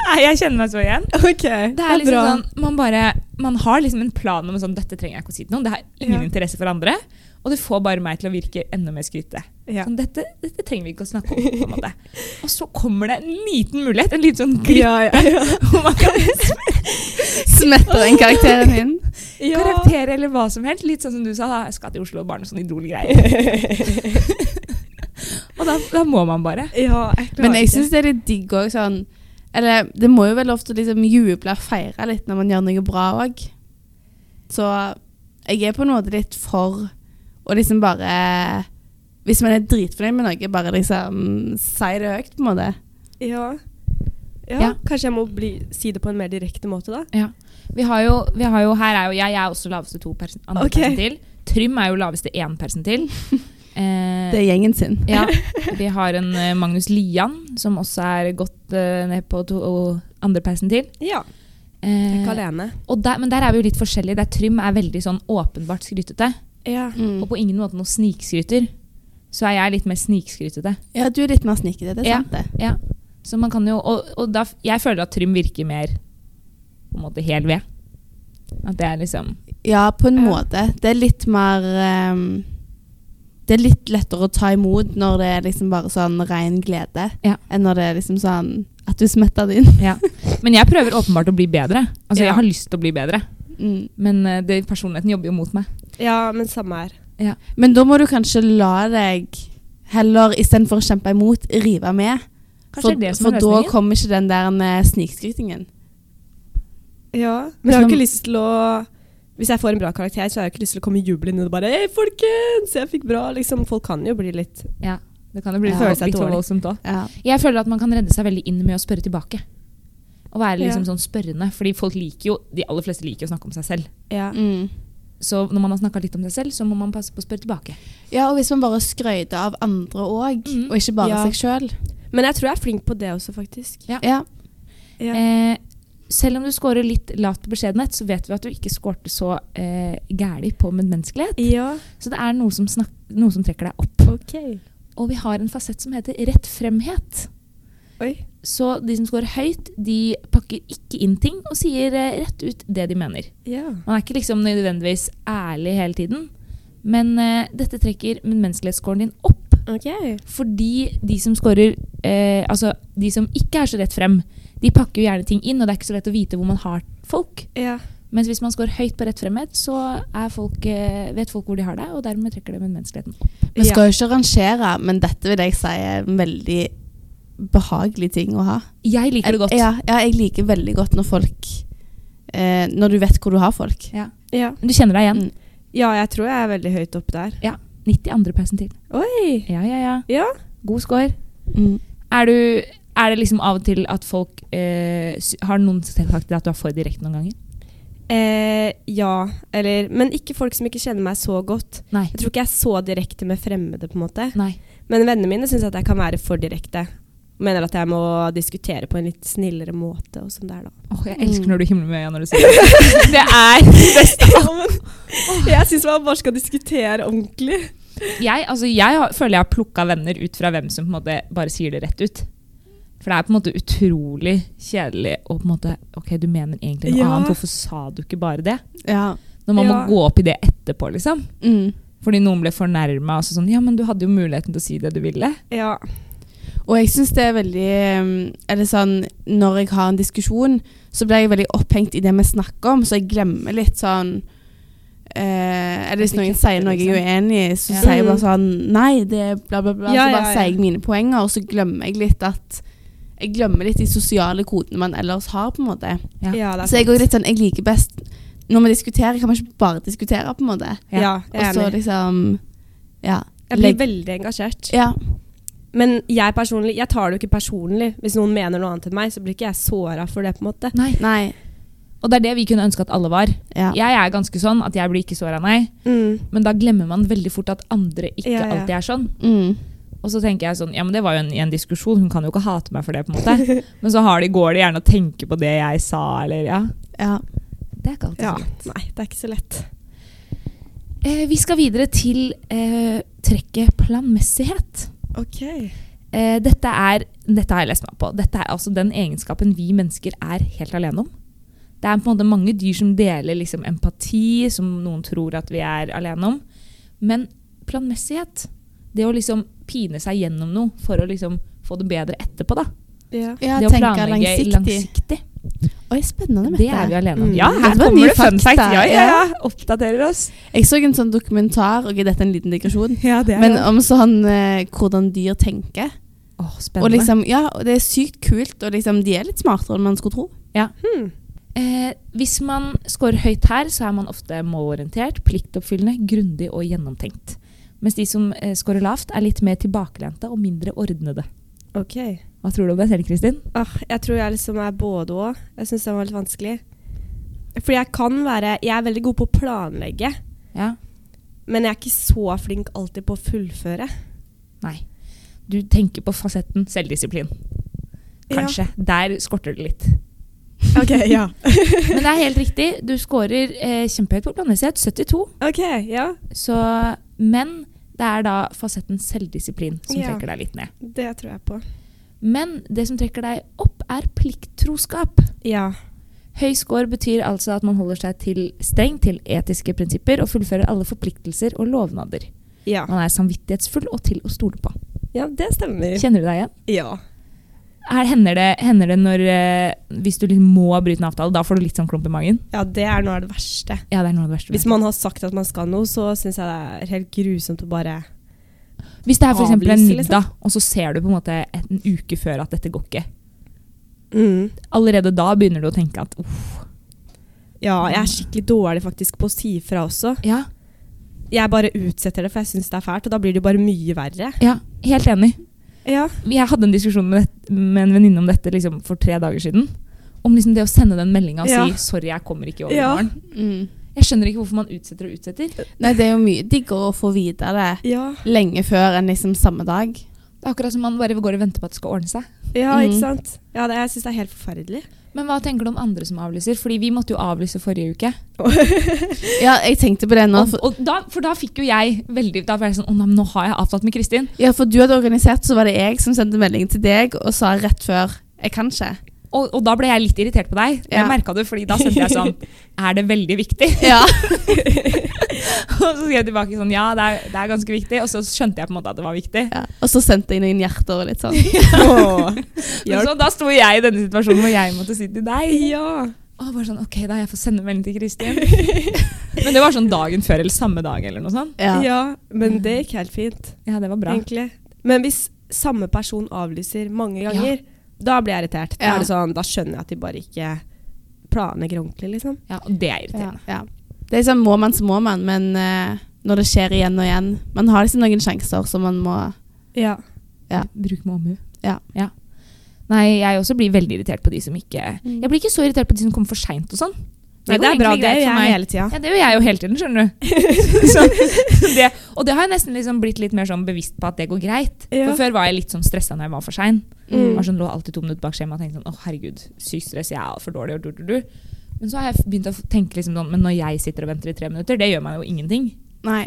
B: Nei, jeg kjenner meg så igjen.
C: Ok,
B: Det er liksom sånn, man, bare, man har liksom en plan om sånn, dette trenger jeg ikke å si til noen. Det har ingen
C: Ja.
B: interesse for andre. Og det får bare meg til å virke enda mer skrytete.
C: Ja.
B: Sånn, dette, dette trenger vi ikke å snakke om. på en måte. Og så kommer det en liten mulighet, en liten sånn glipp.
C: Ja, ja, ja.
B: (laughs) hvor man kan
A: Smetter inn karakteren din?
C: (laughs) ja.
B: Karakter eller hva som helst. Litt sånn som du sa, da, jeg skal til Oslo og bare noe sånn idolgreier. (laughs) og da, da må man bare.
C: ja jeg klarer
A: Men jeg
C: ikke.
A: syns det er litt digg òg, sånn Eller det må jo vel ofte liksom juble og feire litt når man gjør noe bra òg. Så jeg er på en måte litt for å liksom bare Hvis man er dritfornøyd med noe, bare liksom si det høyt, på en måte.
C: ja. Ja,
B: Ja.
C: Kanskje jeg må bli, si det på en mer direkte måte, da.
B: Ja. Vi har jo, vi har jo her er jo jeg, jeg er også laveste to persen, andre
C: Ok.
B: persentil. Trym er jo laveste én (laughs) persentil. Eh,
A: Det er gjengen sin.
B: Ja, vi har en eh, Magnus Lian, som også er gått eh, ned på to, og andre persen til.
C: Ja.
B: Eh,
C: Ikke alene.
B: og der, men der er vi jo litt forskjellige. Der Trym er veldig sånn åpenbart skrytete,
C: Ja.
A: Mm.
B: og på ingen måte noe snikskryter. Så er jeg litt mer snikskrytete.
A: Ja, du er litt mer snikete, det er
B: Ja.
A: sant, det.
B: Ja. Så man kan jo, og og da, jeg føler at Trym virker mer på en måte hel ved. At det er liksom
A: Ja, på en
C: Ja.
A: måte. Det er litt mer ehm, Det er litt lettere å ta imot når det er liksom bare sånn ren glede,
B: Ja.
A: enn når det er liksom sånn at du smetter det inn.
B: ja. Men jeg prøver åpenbart å bli bedre. Altså,
C: Ja.
B: Jeg har lyst til å bli bedre,
A: Mm.
B: men eh, det, personligheten jobber jo mot meg.
C: ja, men samme her.
A: Men da må du kanskje la deg heller, istedenfor å kjempe imot, rive med.
B: Kanskje
A: For,
B: det er det som
A: for
B: er
A: da
B: løsningen?
A: kommer ikke den der eh, snikskrytingen.
C: Ja. Men jeg har
A: Som-
C: ikke lyst til å Hvis jeg får en bra karakter, så har jeg ikke lyst til å komme jublende og bare Hei, folkens, jeg fikk bra! Liksom, folk kan jo bli litt
B: Ja, det kan jo bli
A: Ja.
B: litt
C: Føle seg
B: for
C: dårlig.
B: voldsomt òg.
A: Ja.
B: Jeg føler at man kan redde seg veldig inn med å spørre tilbake. Og være liksom
C: Ja.
B: sånn spørrende, fordi folk liker jo, De aller fleste liker jo å snakke om seg selv.
C: Ja.
A: Mm.
B: Så når man har snakka litt om seg selv, så må man passe på å spørre tilbake.
A: ja, og hvis man bare skryter av andre òg,
B: Mm.
A: og ikke bare
C: Ja.
A: seg sjøl.
C: Men jeg tror jeg er flink på det også, faktisk.
B: Ja.
A: Ja.
C: Ja.
B: Eh, selv om du scorer litt lavt på beskjedenhet, så vet vi at du ikke scorte så eh, gæli på medmenneskelighet.
C: ja.
B: Så det er noe som, snak noe som trekker deg opp.
C: Ok.
B: Og vi har en fasett som heter rett fremhet.
C: Oi.
B: Så de som scorer høyt, de pakker ikke inn ting og sier eh, rett ut det de mener.
C: Ja.
B: Man er ikke liksom nødvendigvis ærlig hele tiden, men eh, dette trekker menneskelighetsscoren din opp.
C: Ok.
B: Fordi de som scorer eh, Altså, de som ikke er så rett frem, de pakker jo gjerne ting inn, og det er ikke så lett å vite hvor man har folk.
C: Ja.
B: Mens hvis man scorer høyt på rett fremhet, så er folk, eh, vet folk hvor de har deg, og dermed trekker det menneskeligheten opp.
A: Vi skal jo ikke rangere, men dette vil jeg si er en veldig behagelig ting å ha.
B: Jeg liker det godt.
A: Ja, ja jeg liker veldig godt når folk eh, Når du vet hvor du har folk.
B: Ja.
C: Ja.
B: Men Du kjenner deg igjen.
A: Mm.
C: ja, jeg tror jeg er veldig høyt oppe der.
B: 92. persentil.
C: Oi!
B: Ja, ja, ja.
C: Ja.
B: God score.
A: Mm.
B: Er, du, er det liksom av og til at folk eh, sy- Har noen sagt til deg at du er for direkte noen ganger?
C: Eh, ja, eller Men ikke folk som ikke kjenner meg så godt.
B: Nei.
C: Jeg tror ikke jeg er så direkte med fremmede, på en måte.
B: Nei.
C: Men vennene mine syns at jeg kan være for direkte. Mener at jeg må diskutere på en litt snillere måte. og sånn
A: (laughs)
C: der da.
B: Åh, jeg
A: Mm.
B: elsker når du himler med øya når du (laughs) sier det.
C: Det er det beste. Jeg syns man bare skal diskutere ordentlig.
B: Jeg, altså, jeg har, føler jeg har plukka venner ut fra hvem som på en måte bare sier det rett ut. For det er på en måte utrolig kjedelig å på en måte Ok, du mener egentlig noe
C: Ja.
B: annet, hvorfor sa du ikke bare det?
A: Ja.
B: Når man
C: Ja.
B: må gå opp i det etterpå, liksom.
A: Mm.
B: Fordi noen ble fornærma og så sånn Ja, men du hadde jo muligheten til å si det du ville.
C: Ja.
A: Og jeg syns det er veldig um, Eller sånn Når jeg har en diskusjon, så blir jeg veldig opphengt i det vi snakker om, så jeg glemmer litt sånn eh, Eller hvis
B: At du
A: noen
B: catcher,
A: sier noe jeg er uenig i, så
B: Ja.
A: sier jeg bare sånn Nei, det er bla, bla, bla.
C: liksom. Ja,
A: så bare
C: ja, ja.
A: sier jeg mine poenger, og så glemmer jeg litt at Jeg glemmer litt de sosiale kodene man ellers har, på en måte.
B: Ja.
C: Ja, det er
A: Så jeg
C: sant.
A: går litt sånn Jeg liker best Når vi diskuterer, kan man ikke bare diskutere, på en måte.
C: Ja, jeg
A: Og
C: er
A: så
C: enig.
A: liksom Ja.
C: Jeg blir veldig engasjert.
A: Ja.
C: Men jeg personlig, jeg tar det jo ikke personlig. Hvis noen mener noe annet enn meg, så blir ikke jeg såra for det. på en måte.
B: Nei.
A: Nei.
B: Og det er det vi kunne ønske at alle var.
A: Ja.
B: Jeg er ganske sånn at jeg blir ikke såra, nei. Men da glemmer man veldig fort at andre ikke
C: Ja, ja.
B: alltid er sånn.
A: Mm.
B: Og så tenker jeg sånn, ja, men det var jo en, i en diskusjon, hun kan jo ikke hate meg for det, på en måte. (laughs) Men så har de, går de gjerne og tenker på det jeg sa, eller ja.
A: Ja.
B: Det er ikke alltid
C: Ja.
B: sånn.
C: Nei, det er ikke så lett.
B: Eh, vi skal videre til eh, trekket planmessighet.
C: Ok.
B: Eh, dette, er, dette har jeg lest meg på. Dette er altså den egenskapen vi mennesker er helt alene om. Det er på en måte mange dyr som deler liksom, empati, som noen tror at vi er alene om. Men planmessighet, det å liksom pine seg gjennom noe for å liksom få det bedre etterpå, da.
C: Ja.
A: ja
B: det å
A: tenke
B: planlegge
A: langsiktig.
B: langsiktig.
A: Oi, spennende, Mette.
B: Det er vi alene om.
C: Mm.
B: Ja,
A: Dette
B: her
A: var
B: kommer
A: nye
B: det fun
A: fakta.
B: facts. Ja, ja, ja. Oppdaterer oss.
A: Jeg så en sånn dokumentar, og dette er en liten digresjon,
C: Ja, det
A: men om sånn eh, hvordan dyr tenker.
B: Åh,
A: Og
B: spennende.
A: liksom, ja, og det er sykt kult, og liksom, de er litt smartere enn man skulle tro.
C: hmm.
B: eh, hvis man scorer høyt her, så er man ofte målorientert, pliktoppfyllende, grundig og gjennomtenkt. Mens de som eh, scorer lavt, er litt mer tilbakelente og mindre ordnede.
C: Ok.
B: Hva tror du om deg selv, Kristin?
C: Ah, jeg tror jeg liksom er både òg. Jeg syns den var litt vanskelig. Fordi jeg kan være Jeg er veldig god på å planlegge,
B: Ja.
C: men jeg er ikke så flink alltid på å fullføre.
B: Nei. Du tenker på fasetten selvdisiplin. Kanskje. Der skorter det litt.
C: Ja. (laughs) Ok, ja.
B: Men det er helt riktig. Du scorer eh, kjempehøyt på planmessighet, 72.
C: (laughs) Ok, ja.
B: Så, men det er da fasetten selvdisiplin som
C: Ja.
B: trekker deg litt ned.
C: Det tror jeg på.
B: Men det som trekker deg opp, er plikttroskap.
C: Ja.
B: Høy score betyr altså at man holder seg til streng til etiske prinsipper og fullfører alle forpliktelser og lovnader.
C: Ja,
B: Man er samvittighetsfull og til å stole på.
C: ja det stemmer.
B: Kjenner du deg igjen?
C: Ja.
B: Her hender det, hender det når eh, Hvis du liksom må bryte en avtale, da får du litt sånn klump i magen.
C: ja, det er noe av det verste.
B: Ja, det er noe av det verste.
C: Hvis man har sagt at man skal noe, så syns jeg det er helt grusomt å bare
B: Hvis det er f.eks. en
C: Avlyse, liksom.
B: middag, og så ser du på en måte en uke før at dette går ikke.
C: mm.
B: Allerede da begynner du å tenke at uff,
C: Ja, jeg er skikkelig dårlig faktisk på å si fra også.
B: ja,
C: Jeg bare utsetter det, for jeg syns det er fælt, og da blir det jo bare mye verre.
B: ja, helt enig.
C: Ja.
B: Jeg hadde en diskusjon med, det- med en venninne om dette liksom, for tre dager siden. Om liksom det å sende den meldinga og
C: Ja.
B: si 'sorry, jeg kommer ikke over i
C: Ja.
B: morgen'.
A: Mm.
B: Jeg skjønner ikke hvorfor man utsetter og utsetter.
A: Nei, det er jo mye diggere å få vite det
C: ja.
A: lenge før enn liksom samme dag.
B: Det er akkurat som man bare går og venter på at det skal ordne seg.
C: Ja,
A: Mm.
C: ikke sant? Ja, det, jeg syns det er helt forferdelig.
B: Men hva tenker du om andre som avlyser? Fordi vi måtte jo avlyse forrige uke.
A: Ja, jeg tenkte på det nå.
B: Og,
A: For,
B: og da, for da fikk jo jeg veldig Da ble jeg sånn Å, nei, men nå har jeg avtalt med Kristin.
A: ja, for du hadde organisert, så var det jeg som sendte melding til deg og sa rett før Jeg kan ikke.
B: Og, og da ble jeg litt irritert på deg. Jeg
A: Ja.
B: merka det, fordi da sendte jeg
C: (laughs)
B: sånn Er det veldig viktig? (laughs)
A: Ja.
B: og så skrev jeg tilbake sånn Ja, det er, det er ganske viktig. Og så skjønte jeg på en måte at det var viktig.
A: (laughs) ja. Og så sendte jeg noen hjerter og litt sånn.
B: (laughs)
C: Åh,
B: Men (laughs)
C: hjelp.
B: så Liksom, da sto jeg i denne situasjonen hvor jeg måtte si til deg.
C: (laughs) ja.
B: Og bare sånn OK, da jeg får sende melding til Kristin. (laughs) Men det var sånn dagen før eller samme dag eller noe sånt.
A: Ja.
C: ja, men det gikk helt fint,
B: Ja, det var bra.
C: egentlig. Men hvis samme person avlyser mange ganger, da blir jeg irritert. Da,
A: Ja.
C: er det sånn, da skjønner jeg at de bare ikke planlegger ordentlig, liksom.
B: Ja, og det er irriterende.
A: Ja. Det er sånn, Må man, så må man, men eh, når det skjer igjen og igjen Man har liksom noen sjanser, så man må
C: Ja.
A: Ja.
B: Bruk med omhu.
A: Ja.
B: Nei, jeg også blir veldig irritert på de som ikke Jeg blir ikke så irritert på de som kommer for seint og sånn.
C: Nei, det
B: går
C: er bra.
B: egentlig
C: Det
B: greit
C: gjør
B: for
C: jeg
B: meg.
C: hele tida.
B: Ja, det gjør jeg jo hele tiden, skjønner (laughs) du. så, det, og det har jeg nesten liksom blitt litt mer sånn bevisst på at det går greit.
C: Ja.
B: For før var jeg litt sånn stressa når jeg var for sein.
C: Mm.
B: Var Sånn, lå alltid to minutter bak skjema og tenkte sånn å herregud, sykt stress, jeg er altfor dårlig og du, du, du. Men så har jeg begynt å tenke liksom sånn, men når jeg sitter og venter i tre minutter, det gjør meg jo ingenting.
A: Nei.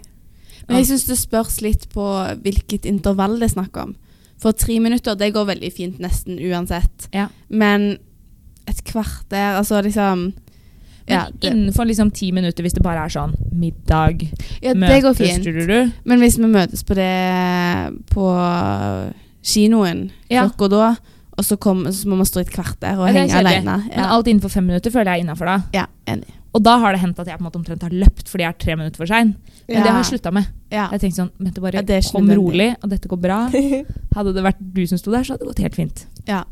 A: Men jeg syns det spørs litt på hvilket intervall det er snakk om. For tre minutter, det går veldig fint nesten uansett.
B: Ja.
A: Men et kvarter, altså liksom
B: Men
A: Ja, det,
B: innenfor liksom ti minutter, hvis det bare er sånn middag,
A: ja, det går fint.
B: du, du, du.
A: Men hvis vi møtes på det på kinoen
B: Ja.
A: klokka da, og så, kom, så må man stå i et kvarter og
B: Ja, det er
A: henge
B: kjedelig.
A: alene.
B: Men
A: Ja.
B: alt innenfor fem minutter føler jeg er innafor da.
A: ja, enig.
B: Og da har det hendt at jeg på en måte omtrent har løpt fordi jeg er tre minutter for sein. Men
A: Ja.
B: det har jeg slutta med.
A: Ja.
B: Jeg tenkte sånn, Mette bare
A: Ja, det er ikke
B: kom
A: nødvendig.
B: rolig, og dette går
A: (laughs)
B: bra. Hadde det vært du som sto der, så hadde det gått helt fint.
A: Ja.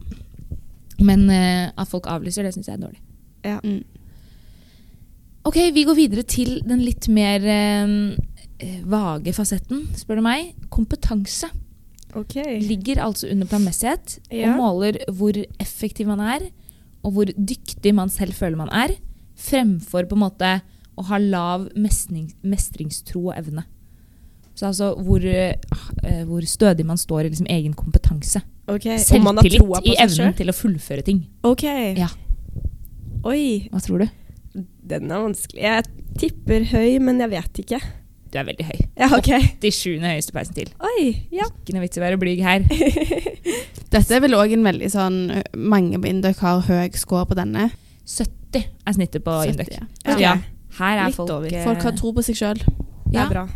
B: Men eh, at folk avlyser, det syns jeg er dårlig.
C: Ja.
A: Mm.
B: Ok, vi går videre til den litt mer eh, vage fasetten, spør du meg. Kompetanse
C: Ok.
B: ligger altså under planmessighet
C: Ja.
B: og måler hvor effektiv man er, og hvor dyktig man selv føler man er, fremfor på en måte å ha lav mestring, mestringstro og evne. Så altså hvor, eh, eh, hvor stødig man står i liksom egen kompetanse.
C: Ok, om Eh, man har troa
B: Selvtillit
C: på
B: i
C: seg
B: evnen
C: selv?
B: til å fullføre ting.
C: Ok.
B: Ja.
C: Oi,
B: Hva tror du?
C: den er vanskelig. Jeg tipper høy, men jeg vet ikke.
B: Du er veldig høy.
C: Ja, ok.
B: De sjuende høyeste persentil.
C: Oi, ja.
B: Ikke noe vits i å være blyg her.
A: Dette er vel òg en veldig sånn Mange på Induc har høy score på denne.
B: 70 er snittet på
A: 70,
B: Induc.
A: ja.
B: Så
C: Ok.
B: ja, her er
C: Litt
B: folk
C: over.
B: eh,
A: Folk har tro på seg sjøl.
C: Det
B: Ja.
C: er bra.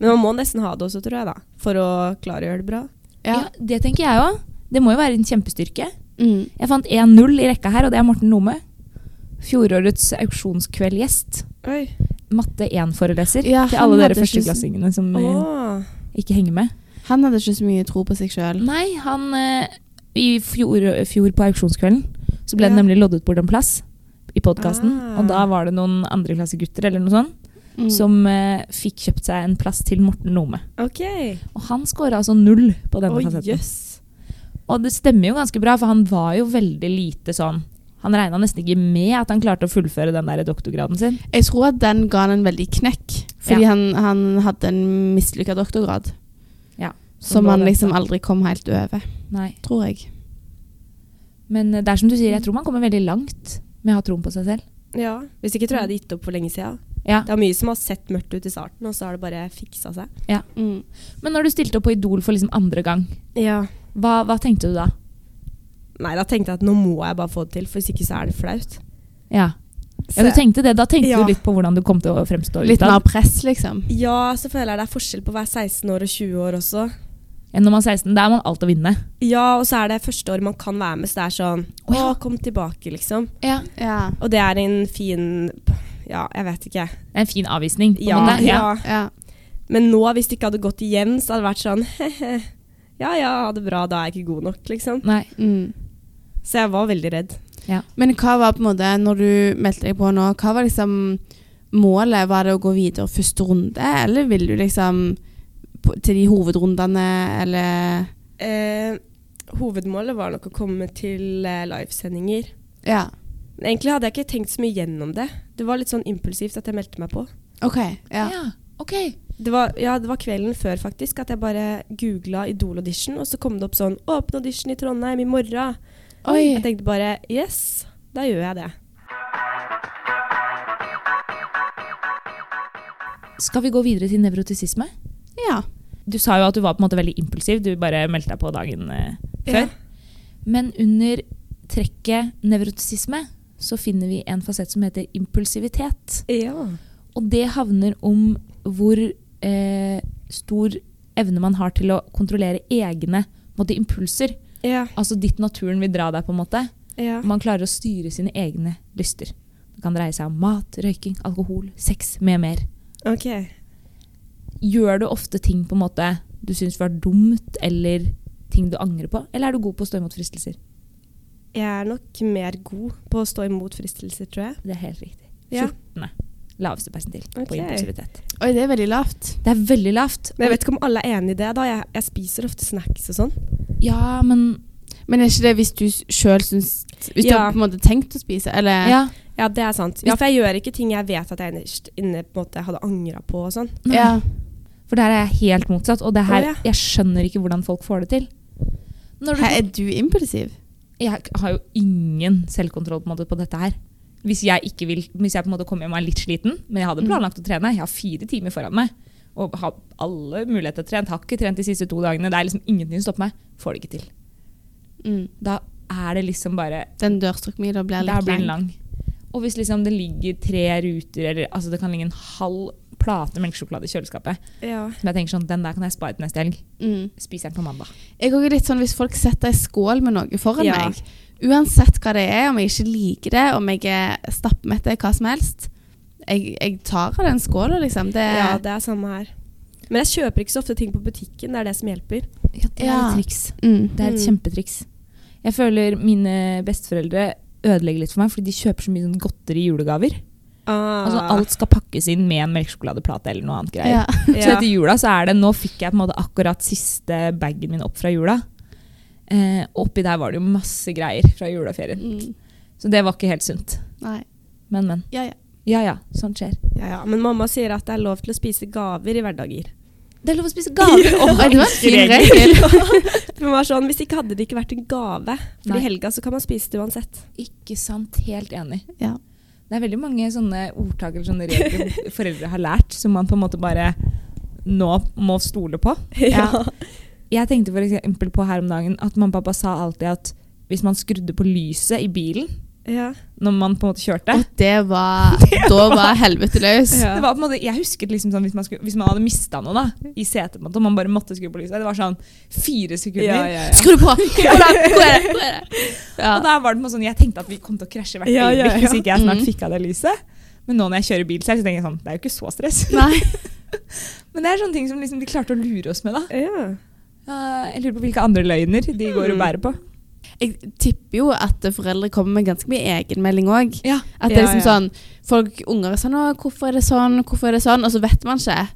C: Men man må nesten ha det også, tror jeg, da. For å klare å gjøre det bra.
B: Ja, det tenker jeg òg. Det må jo være en kjempestyrke.
A: Mm.
B: Jeg fant 1-0 i rekka her, og det er Morten Nome. Fjorårets auksjonskveldgjest.
C: Oi.
B: Matte 1-foreleser
A: Ja,
B: til
A: han
B: alle dere
A: hadde ikke så-
B: førsteklassingene som eh,
C: Åh.
B: ikke henger med.
A: Han hadde ikke så mye tro på seg sjøl.
B: Nei, han eh, I fjor, fjor på auksjonskvelden så ble det
C: Ja.
B: nemlig loddet bort en plass i podkasten.
C: Ah.
B: Og da var det noen andreklassegutter eller noe sånt
A: Mm.
B: som eh, fikk kjøpt seg en plass til Morten Nome.
C: Ok.
B: Og han scora altså null på denne
C: Oi,
B: fasetten.
C: jøss.
B: Og det stemmer jo ganske bra, for han var jo veldig lite sånn Han regna nesten ikke med at han klarte å fullføre den der doktorgraden sin.
A: Jeg tror at den ga han en veldig knekk, fordi han, han hadde en mislykka doktorgrad.
B: Ja,
A: som
B: lå
A: han
B: den-
A: liksom aldri kom helt over,
B: Nei.
A: tror jeg.
B: Men eh, det er som du sier, jeg tror man kommer veldig langt med å ha troen på seg selv.
C: Ja. Hvis ikke tror jeg jeg hadde gitt opp for lenge siden.
B: Ja.
C: Det er mye som har sett mørkt ut i starten, og så har det bare fiksa seg.
A: Mm.
B: Men når du stilte opp på Idol for liksom andre gang,
C: Ja.
B: hva, hva tenkte du da?
C: Nei, da tenkte jeg at nå må jeg bare få det til, for hvis ikke så er det flaut.
B: Ja, ja du
C: Så-
B: tenkte det. Da tenkte
C: Ja.
B: du litt på hvordan du kom til å fremstå
A: Litt mer
B: utad.
A: press, liksom.
C: Ja, så føler jeg det er forskjell på å være 16 år og 20 år også.
B: Ja, Når man er 16, da er man alt å vinne.
C: Ja, og så er det første året man kan være med, så det er sånn
B: Å, ja.
C: Å, kom tilbake, liksom.
B: Ja.
A: Ja.
C: Og det er en fin Ja, jeg vet ikke.
B: Det er en fin avvisning. På
C: Ja,
B: en måte.
C: ja.
A: ja.
C: Men nå, hvis det ikke hadde gått igjen, så hadde det vært sånn (laughs) Ja, ja, ha det bra, da er jeg ikke god nok, liksom.
B: Nei.
A: Mm.
C: Så jeg var veldig redd.
A: Men hva var på en måte, når du meldte deg på nå, hva var liksom målet? Var det å gå videre første runde, eller vil du liksom på, til de hovedrundene, eller
C: Eh, hovedmålet var nok å komme til eh, livesendinger.
A: Ja.
C: Men Egentlig hadde jeg ikke tenkt så mye gjennom det. Det var litt sånn impulsivt at jeg meldte meg på.
A: OK.
B: Ja.
A: Ja.
B: OK.
C: Det var, ja, det var kvelden før faktisk at jeg bare googla Idol audition, og så kom det opp sånn 'Åpne audition i Trondheim i morgen'.
A: Oi.
C: Jeg tenkte bare 'yes, da gjør jeg det'.
B: Skal vi gå videre til nevrotisisme?
A: Ja.
B: Du sa jo at du var på en måte veldig impulsiv. Du bare meldte deg på dagen eh, før. Men under trekket nevrotisisme så finner vi en fasett som heter impulsivitet.
C: Ja.
B: Og det havner om hvor eh, stor evne man har til å kontrollere egne på en måte, impulser.
C: Ja.
B: Altså ditt naturen vil dra deg, på en måte.
C: ja.
B: Man klarer å styre sine egne lyster. Det kan dreie seg om mat, røyking, alkohol, sex med mer.
C: Ok.
B: Gjør du ofte ting på en måte du syns var dumt, eller ting du angrer på? Eller er du god på å stå imot fristelser?
C: Jeg er nok mer god på å stå imot fristelser, tror jeg.
B: Det er helt riktig.
C: Ja.
B: 14. Laveste persentil
C: Ok.
B: på impulsivitet.
A: Oi, det er veldig lavt.
B: Det er veldig lavt.
C: Men jeg vet ikke om alle er enig i det. da. Jeg, jeg spiser ofte snacks og sånn.
B: Ja, men
A: Men er ikke det hvis du sjøl syns Hvis du
C: Ja.
A: har på en måte tenkt å spise, eller
B: ja.
C: Ja, det er sant. Ja, For jeg gjør ikke ting jeg vet at jeg innerst inne på en måte hadde angra på og sånn.
B: Nei.
A: Ja.
B: For der er jeg helt motsatt, og det her,
C: Å, ja.
B: jeg skjønner ikke hvordan folk får det til. Når du,
A: Hæ, er du impulsiv?
B: jeg har jo ingen selvkontroll på, en måte, på dette her. Hvis jeg, ikke vil, hvis jeg på en måte kommer hjem og er litt sliten, men jeg hadde
A: Mm.
B: planlagt å trene, jeg har fire timer foran meg, og har alle muligheter til å trene, har ikke trent de siste to dagene, det er liksom ingenting som stopper meg, får det ikke til.
A: Mm.
B: Da er det liksom bare,
A: Den dørstokkmila blir
B: der
A: litt
B: blir den
A: lang.
B: lang. Og hvis liksom det ligger tre ruter, eller altså det kan ligge en halv plate melkesjokolade i kjøleskapet,
C: Ja.
B: som jeg tenker sånn, den der kan jeg spare til neste helg,
A: Mm.
B: spiser den på mandag.
A: Jeg er også litt sånn hvis folk setter ei skål med noe foran
C: Ja.
A: meg, uansett hva det er, om jeg ikke liker det, om jeg er stappmett, hva som helst Jeg, jeg tar av den skåla, liksom. Det,
C: ja, det er samme her. Men jeg kjøper ikke så ofte ting på butikken. Det er det som hjelper.
B: Ja, det er
A: Ja.
B: et triks.
A: mm.
B: Det er et
C: Mm.
B: kjempetriks. Jeg føler mine besteforeldre ødelegger litt for meg, fordi de kjøper så mye sånn godteri i julegaver.
C: Ah.
B: Altså Alt skal pakkes inn med en melkesjokoladeplate eller noe annet greier.
A: ja. (laughs)
B: Så etter jula så er det Nå fikk jeg på en måte akkurat siste bagen min opp fra jula. Eh, oppi der var det jo masse greier fra juleferien.
A: Mm.
B: Så det var ikke helt sunt.
A: Nei.
B: Men, men.
A: Ja, ja.
B: Ja ja, sånt skjer.
C: Ja, ja. Men mamma sier at det er lov til å spise gaver i (laughs) hverdager.
B: Det er lov å spise (laughs) gaver!
A: Å, det var en fin regel.
C: Hun var sånn, Hvis ikke hadde det ikke vært en gave, for
B: Nei.
C: i helga så kan man spise det uansett.
B: Ikke sant. Helt enig.
A: Ja.
B: Det er veldig mange sånne ordtak eller sånne regler foreldre har lært, som man på en måte bare nå må stole på.
A: Ja.
B: Jeg tenkte for eksempel på her om dagen at mamma og pappa sa alltid at hvis man skrudde på lyset i bilen
C: (laughs) Ja.
B: når man på en måte kjørte
A: Og (laughs) det var Da var helvete løs.
C: Ja.
B: det var på en måte, Jeg husket liksom sånn hvis man, skulle, hvis man hadde mista noe da, i setet på en måte, og man bare måtte skru på lyset. Det var sånn fire sekunder.
C: Ja, ja, ja.
A: Skru på! (laughs) Hvor er det? Hvor er det? Hvor er det? Ja.
B: Og da var det på en måte sånn, Jeg tenkte at vi kom til å krasje hvert
C: Ja, ja,
B: øyeblikk hvis
C: ja.
B: ikke jeg snart
A: Mhm.
B: fikk av det lyset. Men nå når jeg kjører bil selv, så tenker jeg sånn, det er jo ikke så (laughs) stress.
A: Nei.
B: Men det er sånne ting som liksom de klarte å lure oss med. da.
C: ja.
B: Eh, jeg lurer på hvilke andre løgner de går og bærer på.
A: Jeg tipper jo at foreldre kommer med ganske mye egenmelding òg.
B: Ja,
A: At det er
C: Ja,
A: liksom
C: ja.
A: sånn Folk, unger er sånn Å, hvorfor er det sånn? Hvorfor er det sånn? Og så vet man ikke.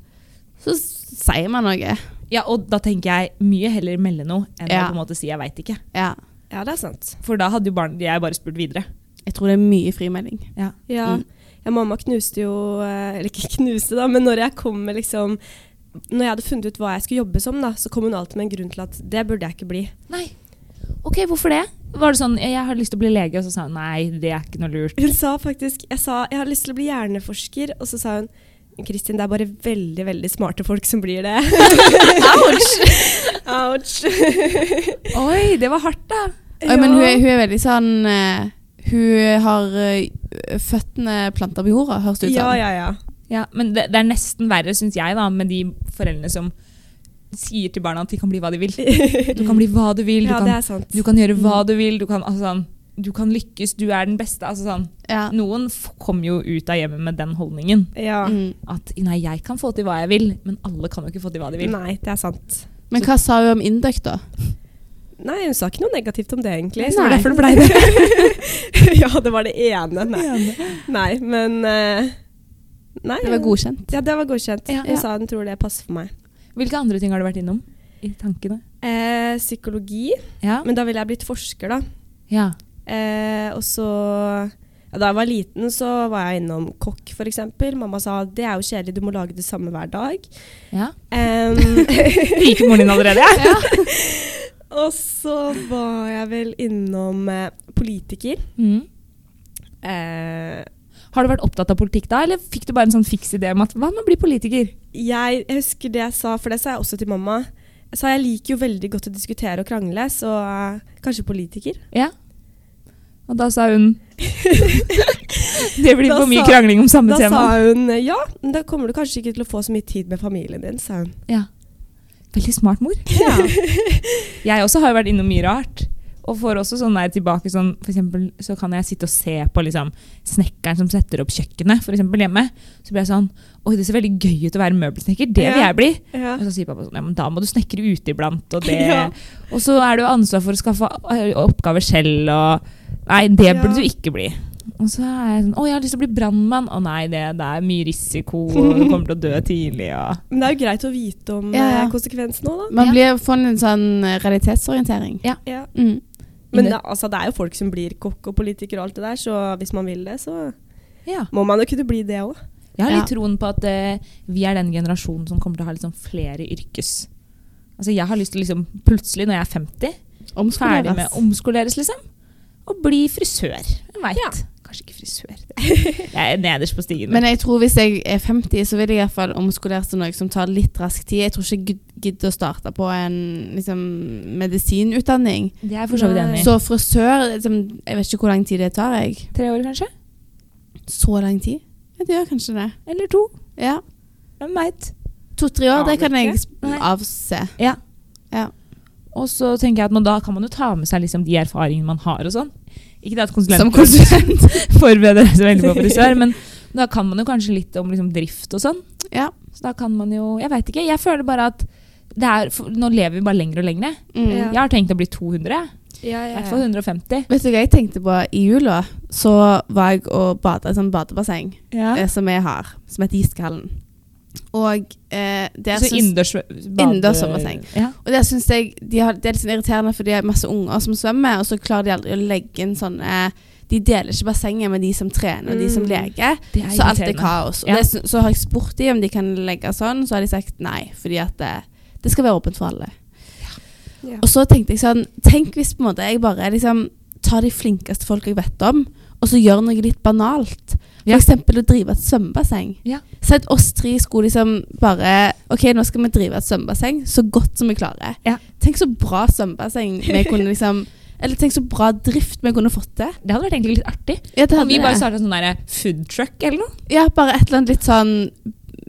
A: Så s- sier man noe.
B: ja Og da tenker jeg mye heller melde noe enn
A: Ja.
B: å på en måte si 'jeg veit ikke'.
A: Ja.
C: ja, det er sant.
B: For da hadde jo barn, jeg bare spurt videre.
A: Jeg tror det er mye frimelding.
C: Ja.
A: Mm.
C: ja, mamma knuste jo eh, Eller ikke knuste, da, men når jeg kom med liksom Når jeg hadde funnet ut hva jeg skulle jobbe som, da, så kom hun alltid med en grunn til at det burde jeg ikke bli.
B: Nei. Ok, hvorfor det? Var det sånn 'jeg har lyst til å bli lege', og så sa hun 'nei, det er ikke noe lurt'.
C: Hun sa faktisk Jeg sa jeg har lyst til å bli hjerneforsker, og så sa hun Kristin, det er bare veldig veldig smarte folk som blir det. (laughs) Ouch!
B: (laughs) Oi, det var hardt, da.
A: Oi, men hun, er- hun er veldig sånn eh, Hun har eh, føttene planta på jorda, høres det ut
C: Ja,
A: som.
C: ja, ja.
B: Ja, Men det, det er nesten verre, syns jeg, da, med de foreldrene som sier til barna at de kan bli hva de vil. Du kan bli hva du vil, du,
C: Ja,
B: kan,
C: det er Mm. sant.
B: du kan gjøre hva du vil, du kan, altså, sånn, du kan lykkes, du er den beste. Altså sånn.
A: Ja.
B: Noen f- kom jo ut av hjemmet med den holdningen.
C: Ja.
A: Mm.
B: At nei, jeg kan få til hva jeg vil, men alle kan jo ikke få til hva de vil.
C: Nei, det er sant.
A: Men hva sa hun om Induc, da?
C: Nei, hun sa ikke noe negativt om det, egentlig.
A: Nei.
C: blei det. ja, det (laughs) var det ene. Nei, nei men eh, Nei.
A: Det var godkjent.
C: Ja, det var godkjent.
B: Ja.
A: Ja.
C: Hun sa hun tror det passer for meg.
B: Hvilke andre ting har du vært innom i tankene?
C: Eh, psykologi.
B: Ja.
C: Men da ville jeg blitt forsker, da.
B: ja.
C: Eh, og så Ja, Da jeg var liten, så var jeg innom kokk, f.eks. Mamma sa det er jo kjedelig, du må lage det samme hver dag.
B: Ja.
C: (laughs) Em, (laughs)
B: Liker moren din allerede? Ja.
C: og så var jeg vel innom eh, politiker.
B: Mm.
C: Eh,
B: Har du vært opptatt av politikk da, eller fikk du bare en sånn fiks idé om at hva med å bli politiker?
C: jeg, jeg husker det jeg sa, for det sa jeg også til mamma. Jeg sa jeg liker jo veldig godt å diskutere og krangle, så eh, kanskje politiker.
B: Ja. Og da sa
C: (laughs)
B: hun Det blir
C: Da
B: for mye
C: sa-
B: krangling om samme
C: Da sa
B: tema.
C: hun ja, men da kommer du kanskje ikke til å få så mye tid med familien din, sa hun.
B: Ja. Veldig smart mor. (laughs) Jeg også har jo vært innom mye rart. Og får også sånn der tilbake sånn, For eksempel så kan jeg sitte og se på liksom, snekkeren som setter opp kjøkkenet, for eksempel hjemme. Så blir jeg sånn Oi, det ser veldig gøy ut å være møbelsnekker. Det vil
C: Ja.
B: jeg bli.
C: Ja.
B: Og så sier pappa sånn, ja, men da må du snekre ute iblant. Og, det.
C: Ja.
B: og så er det jo ansvar for å skaffe eh, oppgaver selv. Og, nei, det
C: Ja.
B: burde du ikke bli. Og så er jeg sånn, å jeg har lyst til å bli brannmann. Å nei, det, det er mye risiko, og du kommer til å dø tidlig. Og.
C: Men det er jo greit å vite om
A: Ja, ja.
C: eh, konsekvensen nå, da.
A: Man
B: Ja.
A: blir får en sånn eh, realitetsorientering.
C: Ja.
A: Mm.
C: Men
B: Ingen-
C: det, altså, det er jo folk som blir kokk og politiker og alt det der, så hvis man vil det, så
B: Ja.
C: må man jo kunne bli det òg.
B: Jeg har
A: Ja.
B: litt troen på at eh, vi er den generasjonen som kommer til å ha liksom flere yrkes. Altså Jeg har lyst til å liksom, plutselig, når jeg er 50, ferdig med
A: Omskoleres.
B: å omskoleres, liksom. Og bli frisør. Jeg veit.
C: Ja.
B: Kanskje ikke frisør. (laughs) Jeg er nederst på stigen.
A: Men jeg tror hvis jeg er 50, så vil jeg i hvert fall omskolere til noe som tar litt rask tid. Jeg tror ikke jeg gid- gidder å starte på en liksom, medisinutdanning.
B: det er jeg for så vidt
C: Nei.
B: enig i.
A: Så frisør liksom, Jeg vet ikke hvor lang tid det tar. jeg.
B: Tre år, kanskje?
A: Så lang tid? Ja, det gjør kanskje det.
B: Eller to.
A: Ja.
B: Hvem veit.
A: To-tre år, det
C: Aner
A: kan jeg
C: ikke.
A: sp-
B: Nei.
A: avse.
B: Ja.
A: Ja.
B: Og så tenker jeg at man, da kan man jo ta med seg liksom, de erfaringene man har og sånn. Ikke det at konsulenter
A: Som
C: (laughs)
A: konsulent.
B: forbereder seg veldig på
A: (laughs)
B: frisør, men da kan man jo kanskje litt om liksom, drift og sånn.
A: Ja.
B: Så da kan man jo Jeg veit ikke. Jeg føler bare at det er, for, Nå lever vi bare lenger og lenger.
A: Mm.
C: Ja.
B: Jeg har tenkt å bli 200. jeg. I hvert fall 150.
A: Vet du hva jeg tenkte på i jula? Så var jeg og bada i et sånt badebasseng eh, som jeg har, som heter Iskehallen. Og eh, der
B: Så
A: syns-
B: innendørs
A: Innendørs svømmebasseng.
B: Ja.
A: Og det synes jeg de har, Det er litt sånn irriterende, for de har masse unger som svømmer, og så klarer de aldri å legge inn sånne De deler ikke bassenget med de som trener og de som
C: Mm.
A: leker.
B: Det er
A: Så alt er
B: irriterende.
A: kaos. Og
B: Ja.
A: det, sy- så har jeg spurt dem om de kan legge sånn, så har de sagt nei, fordi at det, det skal være åpent for alle.
C: Ja.
A: Og så tenkte jeg sånn Tenk hvis på en måte jeg bare liksom tar de flinkeste folk jeg vet om, og så gjør noe litt banalt. For
B: Ja.
A: eksempel å drive et svømmebasseng.
B: Ja.
A: Så at oss tre skulle liksom bare OK, nå skal vi drive et svømmebasseng så godt som vi klarer.
B: Ja.
A: Tenk så bra svømmebasseng vi kunne liksom Eller tenk så bra drift vi kunne fått til.
B: Det hadde vært egentlig litt artig.
A: Ja, det
B: Om vi
A: hadde
B: bare
A: det.
B: starta sånn der food truck eller noe.
A: Ja, bare et eller annet litt sånn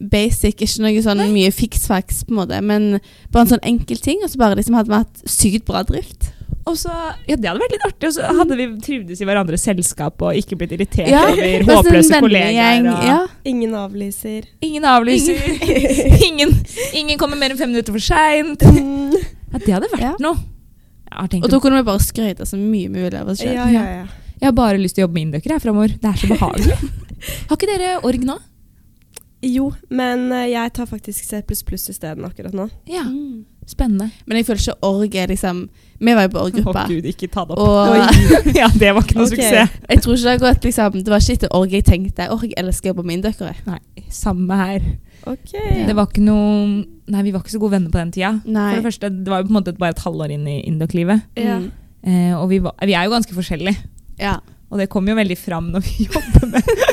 A: basic, ikke noe sånn mye fiks-faks på en måte, men bare en sånn enkel ting, og så bare liksom hadde vi hatt sykt bra drift.
B: Og så, ja, Det hadde vært litt artig. Og så hadde vi trivdes i hverandres selskap og ikke blitt irritert over
A: bare sånn
B: håpløse
A: vennegjeng,
B: kollegaer. Og...
A: Ja.
C: Ingen (laughs) avlyser.
B: Ingen avlyser. (laughs) Ingen, ingen kommer mer enn fem minutter for seint.
C: Mm.
B: Ja, det hadde vært
A: Ja.
B: noe. Jeg har, tenkt
A: Og da kunne vi bare skryte så mye vi ville av oss selv.
C: (laughs) Ja, ja, ja.
B: å- jeg har bare lyst til å jobbe med indokere her framover. Det er så behagelig. (laughs) har ikke dere org nå?
C: Jo, men eh, jeg tar faktisk C++ isteden akkurat nå.
B: Ja,
A: Mm.
B: spennende.
A: Men jeg føler ikke org er liksom Vi var jo på org-gruppa.
B: Å gud, ikke ta det opp.
A: Og
B: (laughs) ja, det var ikke noe
C: Ok.
B: suksess.
A: jeg tror ikke det har gått liksom Det var ikke etter org jeg tenkte. Org elsker å jobbe med indøkere.
B: Nei, samme her.
C: Ok.
A: Ja.
B: Det var ikke noe Nei, vi var ikke så gode venner på den tida.
A: Nei.
B: For det første, det var jo på en måte bare et halvår inn i indok-livet.
C: Ja.
A: Mm.
B: Eh, og vi, var, vi er jo ganske forskjellige.
A: Ja.
B: Og det kom jo veldig fram når vi (laughs) jobber, med,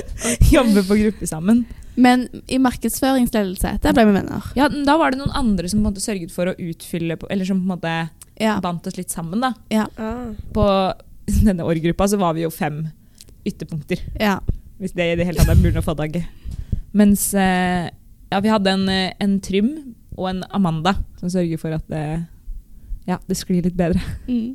B: jobber på gruppe sammen.
A: Men i markedsføringsledelse, der ble vi venner.
B: Ja, men Da var det noen andre som på en måte sørget for å utfylle på, Eller som på en måte
A: Ja.
B: bandt oss litt sammen. da.
C: Ah.
B: På (laughs) denne årgruppa så var vi jo fem ytterpunkter.
A: ja.
B: Hvis det i det hele tatt er mulig å få tak i. Mens eh, ja, vi hadde en, eh, en Trym og en Amanda som sørger for at det, ja, det sklir litt bedre.
A: Mm.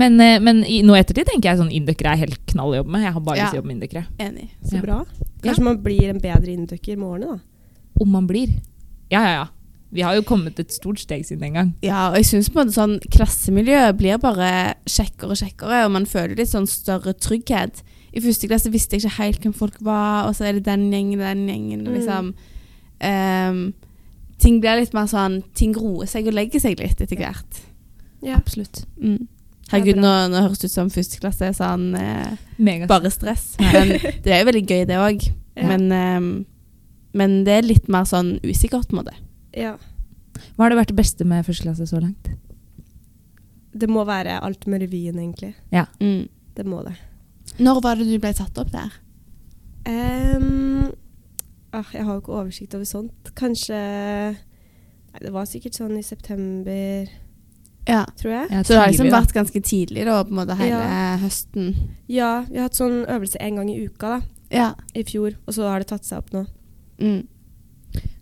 B: Men, eh, men i, nå i ettertid tenker jeg sånn indokere er helt knall å jobbe med. Jeg har bare lyst til
A: Ja.
B: å jobbe med indokere.
A: Enig.
B: Ja.
C: Så bra. Kanskje man blir en bedre inndøkker med årene, da.
B: Om man blir. Ja, ja, ja. Vi har jo kommet et stort steg siden den gang.
A: Ja, og jeg synes på en måte sånn klassemiljøet blir bare kjekkere og kjekkere, og man føler litt sånn større trygghet. I første klasse visste jeg ikke helt hvem folk var, og så er det den gjengen, den gjengen, og liksom. Ehm, ting blir litt mer sånn, ting roer seg og legger seg litt etter hvert.
C: Ja.
B: Absolutt.
A: Mm. Herregud,
C: bra.
A: nå, nå høres det ut som første klasse er sånn eh,
B: Mega.
A: bare stress. (laughs) Men det er jo veldig gøy, det òg.
C: Ja.
A: Men, eh, men det er litt mer sånn usikkert, på en måte.
C: Ja.
B: Hva har det vært det beste med første klasse så langt?
C: Det må være alt med revyen, egentlig.
A: Mm.
C: Det må det.
A: Når var det du ble tatt opp der?
C: Ehm, ah, jeg har jo ikke oversikt over sånt. Kanskje Nei, det var sikkert sånn i september,
A: Ja.
C: tror jeg.
B: Ja,
A: Så det har liksom
B: tidlig, da.
A: vært ganske tidlig da, på en måte hele høsten.
C: Ja, vi har hatt sånn øvelse én gang i uka da,
A: Ja.
C: i fjor, og så har det tatt seg opp nå.
A: Mm.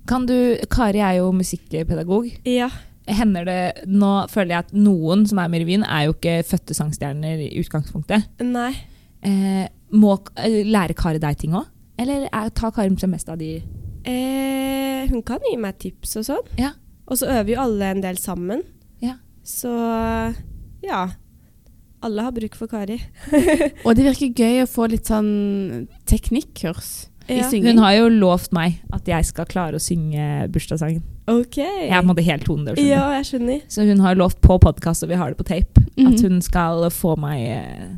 B: Kan du, Kari er jo musikkpedagog.
C: Ja.
B: Hender det, Nå føler jeg at noen som er med i revyen, er jo ikke fødte sangstjerner i utgangspunktet.
C: Nei.
B: Eh, må, eh, lærer Kari deg ting òg? Eller er, tar Kari seg mest av de
C: Eh, hun kan gi meg tips og sånn.
B: Ja.
C: Og så øver jo alle en del sammen.
B: Ja.
C: Så ja. Alle har bruk for Kari.
A: Og det virker gøy å få litt sånn teknikkurs i
C: Ja.
A: synging.
B: Hun har jo lovt meg at jeg skal klare å synge bursdagssangen.
C: OK.
B: Jeg er på en måte helt tonedøv. skjønner
C: ja, jeg skjønner.
B: du. Så hun har lovt på podkast, og vi har det på tape,
A: Mhm.
B: at hun skal få meg eh,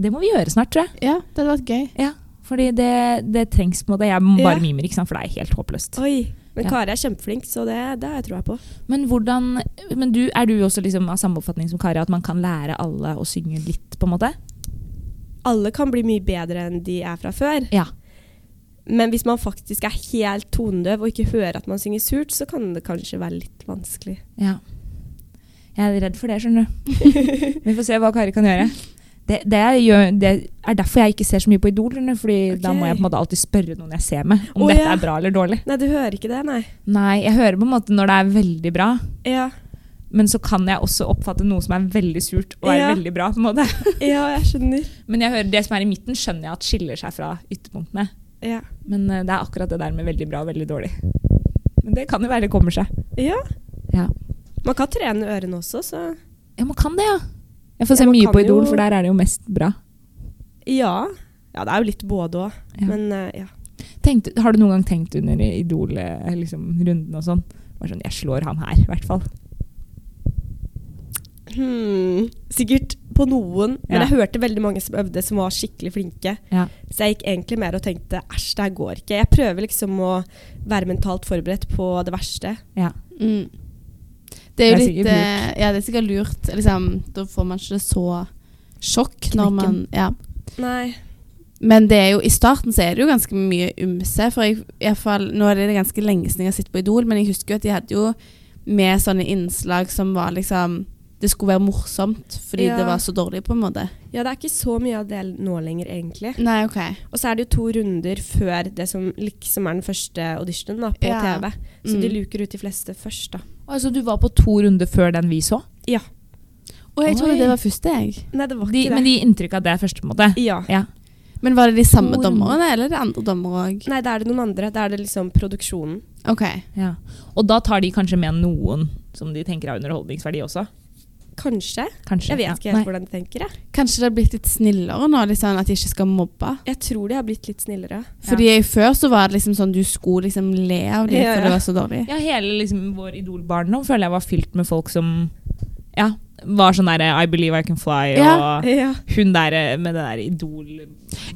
B: Det må vi gjøre snart, tror jeg.
A: Ja, det hadde vært gøy.
B: Fordi det, det trengs på en måte. Jeg bare
C: Ja.
B: mimer, ikke sant? for det er helt håpløst.
C: Oi. Men
B: Ja.
C: Kari er kjempeflink, så det, det har jeg troa på.
B: Men, hvordan, men du, er du også liksom av samme oppfatning som Kari, at man kan lære alle å synge litt, på en måte?
C: Alle kan bli mye bedre enn de er fra før.
B: Ja.
C: Men hvis man faktisk er helt tonedøv og ikke hører at man synger surt, så kan det kanskje være litt vanskelig.
B: ja. Jeg er redd for det, skjønner (laughs) du. Vi får se hva Kari kan gjøre. Det, det, gjør, det er derfor jeg ikke ser så mye på Idol, skjønner du, fordi da
C: Ok.
B: må jeg på en måte alltid spørre noen jeg ser med, om
C: Å,
B: dette
C: ja.
B: er bra eller dårlig.
C: Nei, du hører ikke det, nei.
B: Nei, jeg hører på en måte når det er veldig bra,
C: Ja,
B: men så kan jeg også oppfatte noe som er veldig surt og er
C: Ja.
B: veldig bra, på en måte. (laughs)
C: ja jeg skjønner.
B: Men jeg hører det som er i midten, skjønner jeg at skiller seg fra ytterpunktene.
C: Ja.
B: Men eh, det er akkurat det der med veldig bra og veldig dårlig. Men det kan jo være det kommer seg.
C: ja.
B: Ja,
C: Man kan trene ørene også, så
B: man kan det, ja. Jeg får
C: Ja,
B: se
C: man
B: mye
C: kan
B: på Idol,
C: jo-
B: for der er det jo mest bra.
C: ja. Ja, det er jo litt både òg,
B: Ja.
C: men eh, ja.
B: Tenkte, har du noen gang tenkt under Idol-runden liksom, runden og sånn? Bare sånn, jeg slår han her, i hvert fall.
C: Hmm. Sikkert på noen, men
B: Ja.
C: jeg hørte veldig mange som øvde som var skikkelig flinke.
B: Ja.
C: Så jeg gikk egentlig mer og tenkte æsj, det her går ikke. Jeg prøver liksom å være mentalt forberedt på det verste.
B: Ja.
A: Mm. Det er jo
B: Det er
A: litt
B: sikkert
A: eh, Ja, det er sikkert lurt. Liksom, da får man ikke så sjokk når
B: Knekken.
A: man ja.
C: Nei.
A: Men det er jo, i starten så er det jo ganske mye ymse. For jeg, i hvert fall, nå er det ganske lenge siden jeg har sett på Idol, men jeg husker jo at de hadde jo med sånne innslag som var liksom Det skulle være morsomt fordi
C: Ja.
A: det var så dårlig, på en måte.
C: Ja, det er ikke så mye av det nå lenger, egentlig.
A: Nei, OK.
C: Og så er det jo to runder før det som liksom er den første auditionen da, på
A: Ja.
C: TV. Så de
A: Mm.
C: luker ut de fleste først, da.
B: Altså, du var på to runder før den vi så?
A: Og jeg trodde
B: Oi.
A: det var første, jeg.
C: Nei, det var
B: De,
C: ikke
B: men
C: det.
B: de inntrykk av det første, på en måte?
C: ja.
B: Ja.
A: Men var det de samme
B: Hvor-
A: dommerne, eller er det andre dommere òg?
C: Nei, da er det noen andre. Da er det liksom produksjonen.
A: OK.
B: ja. Og da tar de kanskje med noen som de tenker har underholdningsverdi også?
C: Kanskje.
B: Kanskje?
C: Jeg vet
B: ja.
C: ikke helt
B: Nei.
C: hvordan de tenker. Jeg.
A: Kanskje det har blitt litt snillere nå, litt sånn at de ikke skal mobbe?
C: jeg tror de har blitt litt snillere.
A: Fordi før så var det liksom sånn du skulle liksom le av dem
C: Ja,
A: for
C: ja.
A: det var så dårlig. (laughs)
B: Ja, hele liksom vår idolbarndom føler jeg var fylt med folk som ja, var sånn derre I believe I can fly,
A: Ja.
B: og
C: Ja.
B: hun derre med det der idol...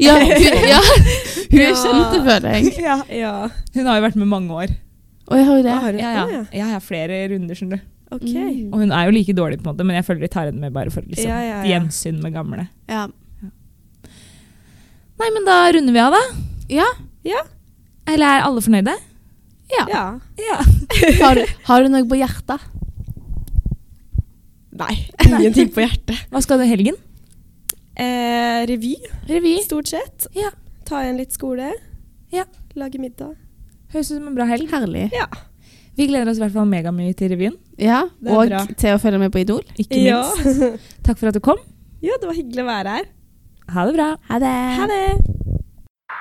A: Ja, hun, ja, hun er
C: Ja.
A: kjent, det føler jeg.
C: (laughs) ja. ja. Ah,
B: Hun har jo vært med mange år.
A: Og jeg har jo det.
C: Har hun-
B: Ja, ja.
C: Å, ja.
B: ja, ja flere runder, skjønner du.
C: Ok.
A: Mm.
B: Og hun er jo like dårlig, på en måte, men jeg føler de tar henne med bare for liksom,
C: Ja, ja, ja.
B: gjensyn med gamle.
A: Ja.
B: Nei, men da runder vi av, da.
A: ja.
C: Ja.
B: Eller er alle fornøyde?
A: Ja.
C: ja.
A: Har, du- har du noe på hjertet?
C: Nei. Ingenting på hjertet.
B: Hva skal du i helgen?
C: Eh, revy,
B: Revy.
C: stort sett.
B: Ja.
C: Ta igjen litt skole.
B: Ja.
C: Lage middag.
B: Høres ut som en bra helg.
A: Herlig.
C: Ja.
B: Vi gleder oss i hvert fall megamye til revyen.
A: Ja,
C: Det er
A: Og
C: bra.
A: til å følge med på Idol.
B: Ikke
C: Ja.
B: minst. Takk for at du kom.
C: ja, det var hyggelig å være her.
B: Ha det bra.
A: Ha det.
C: Ha det.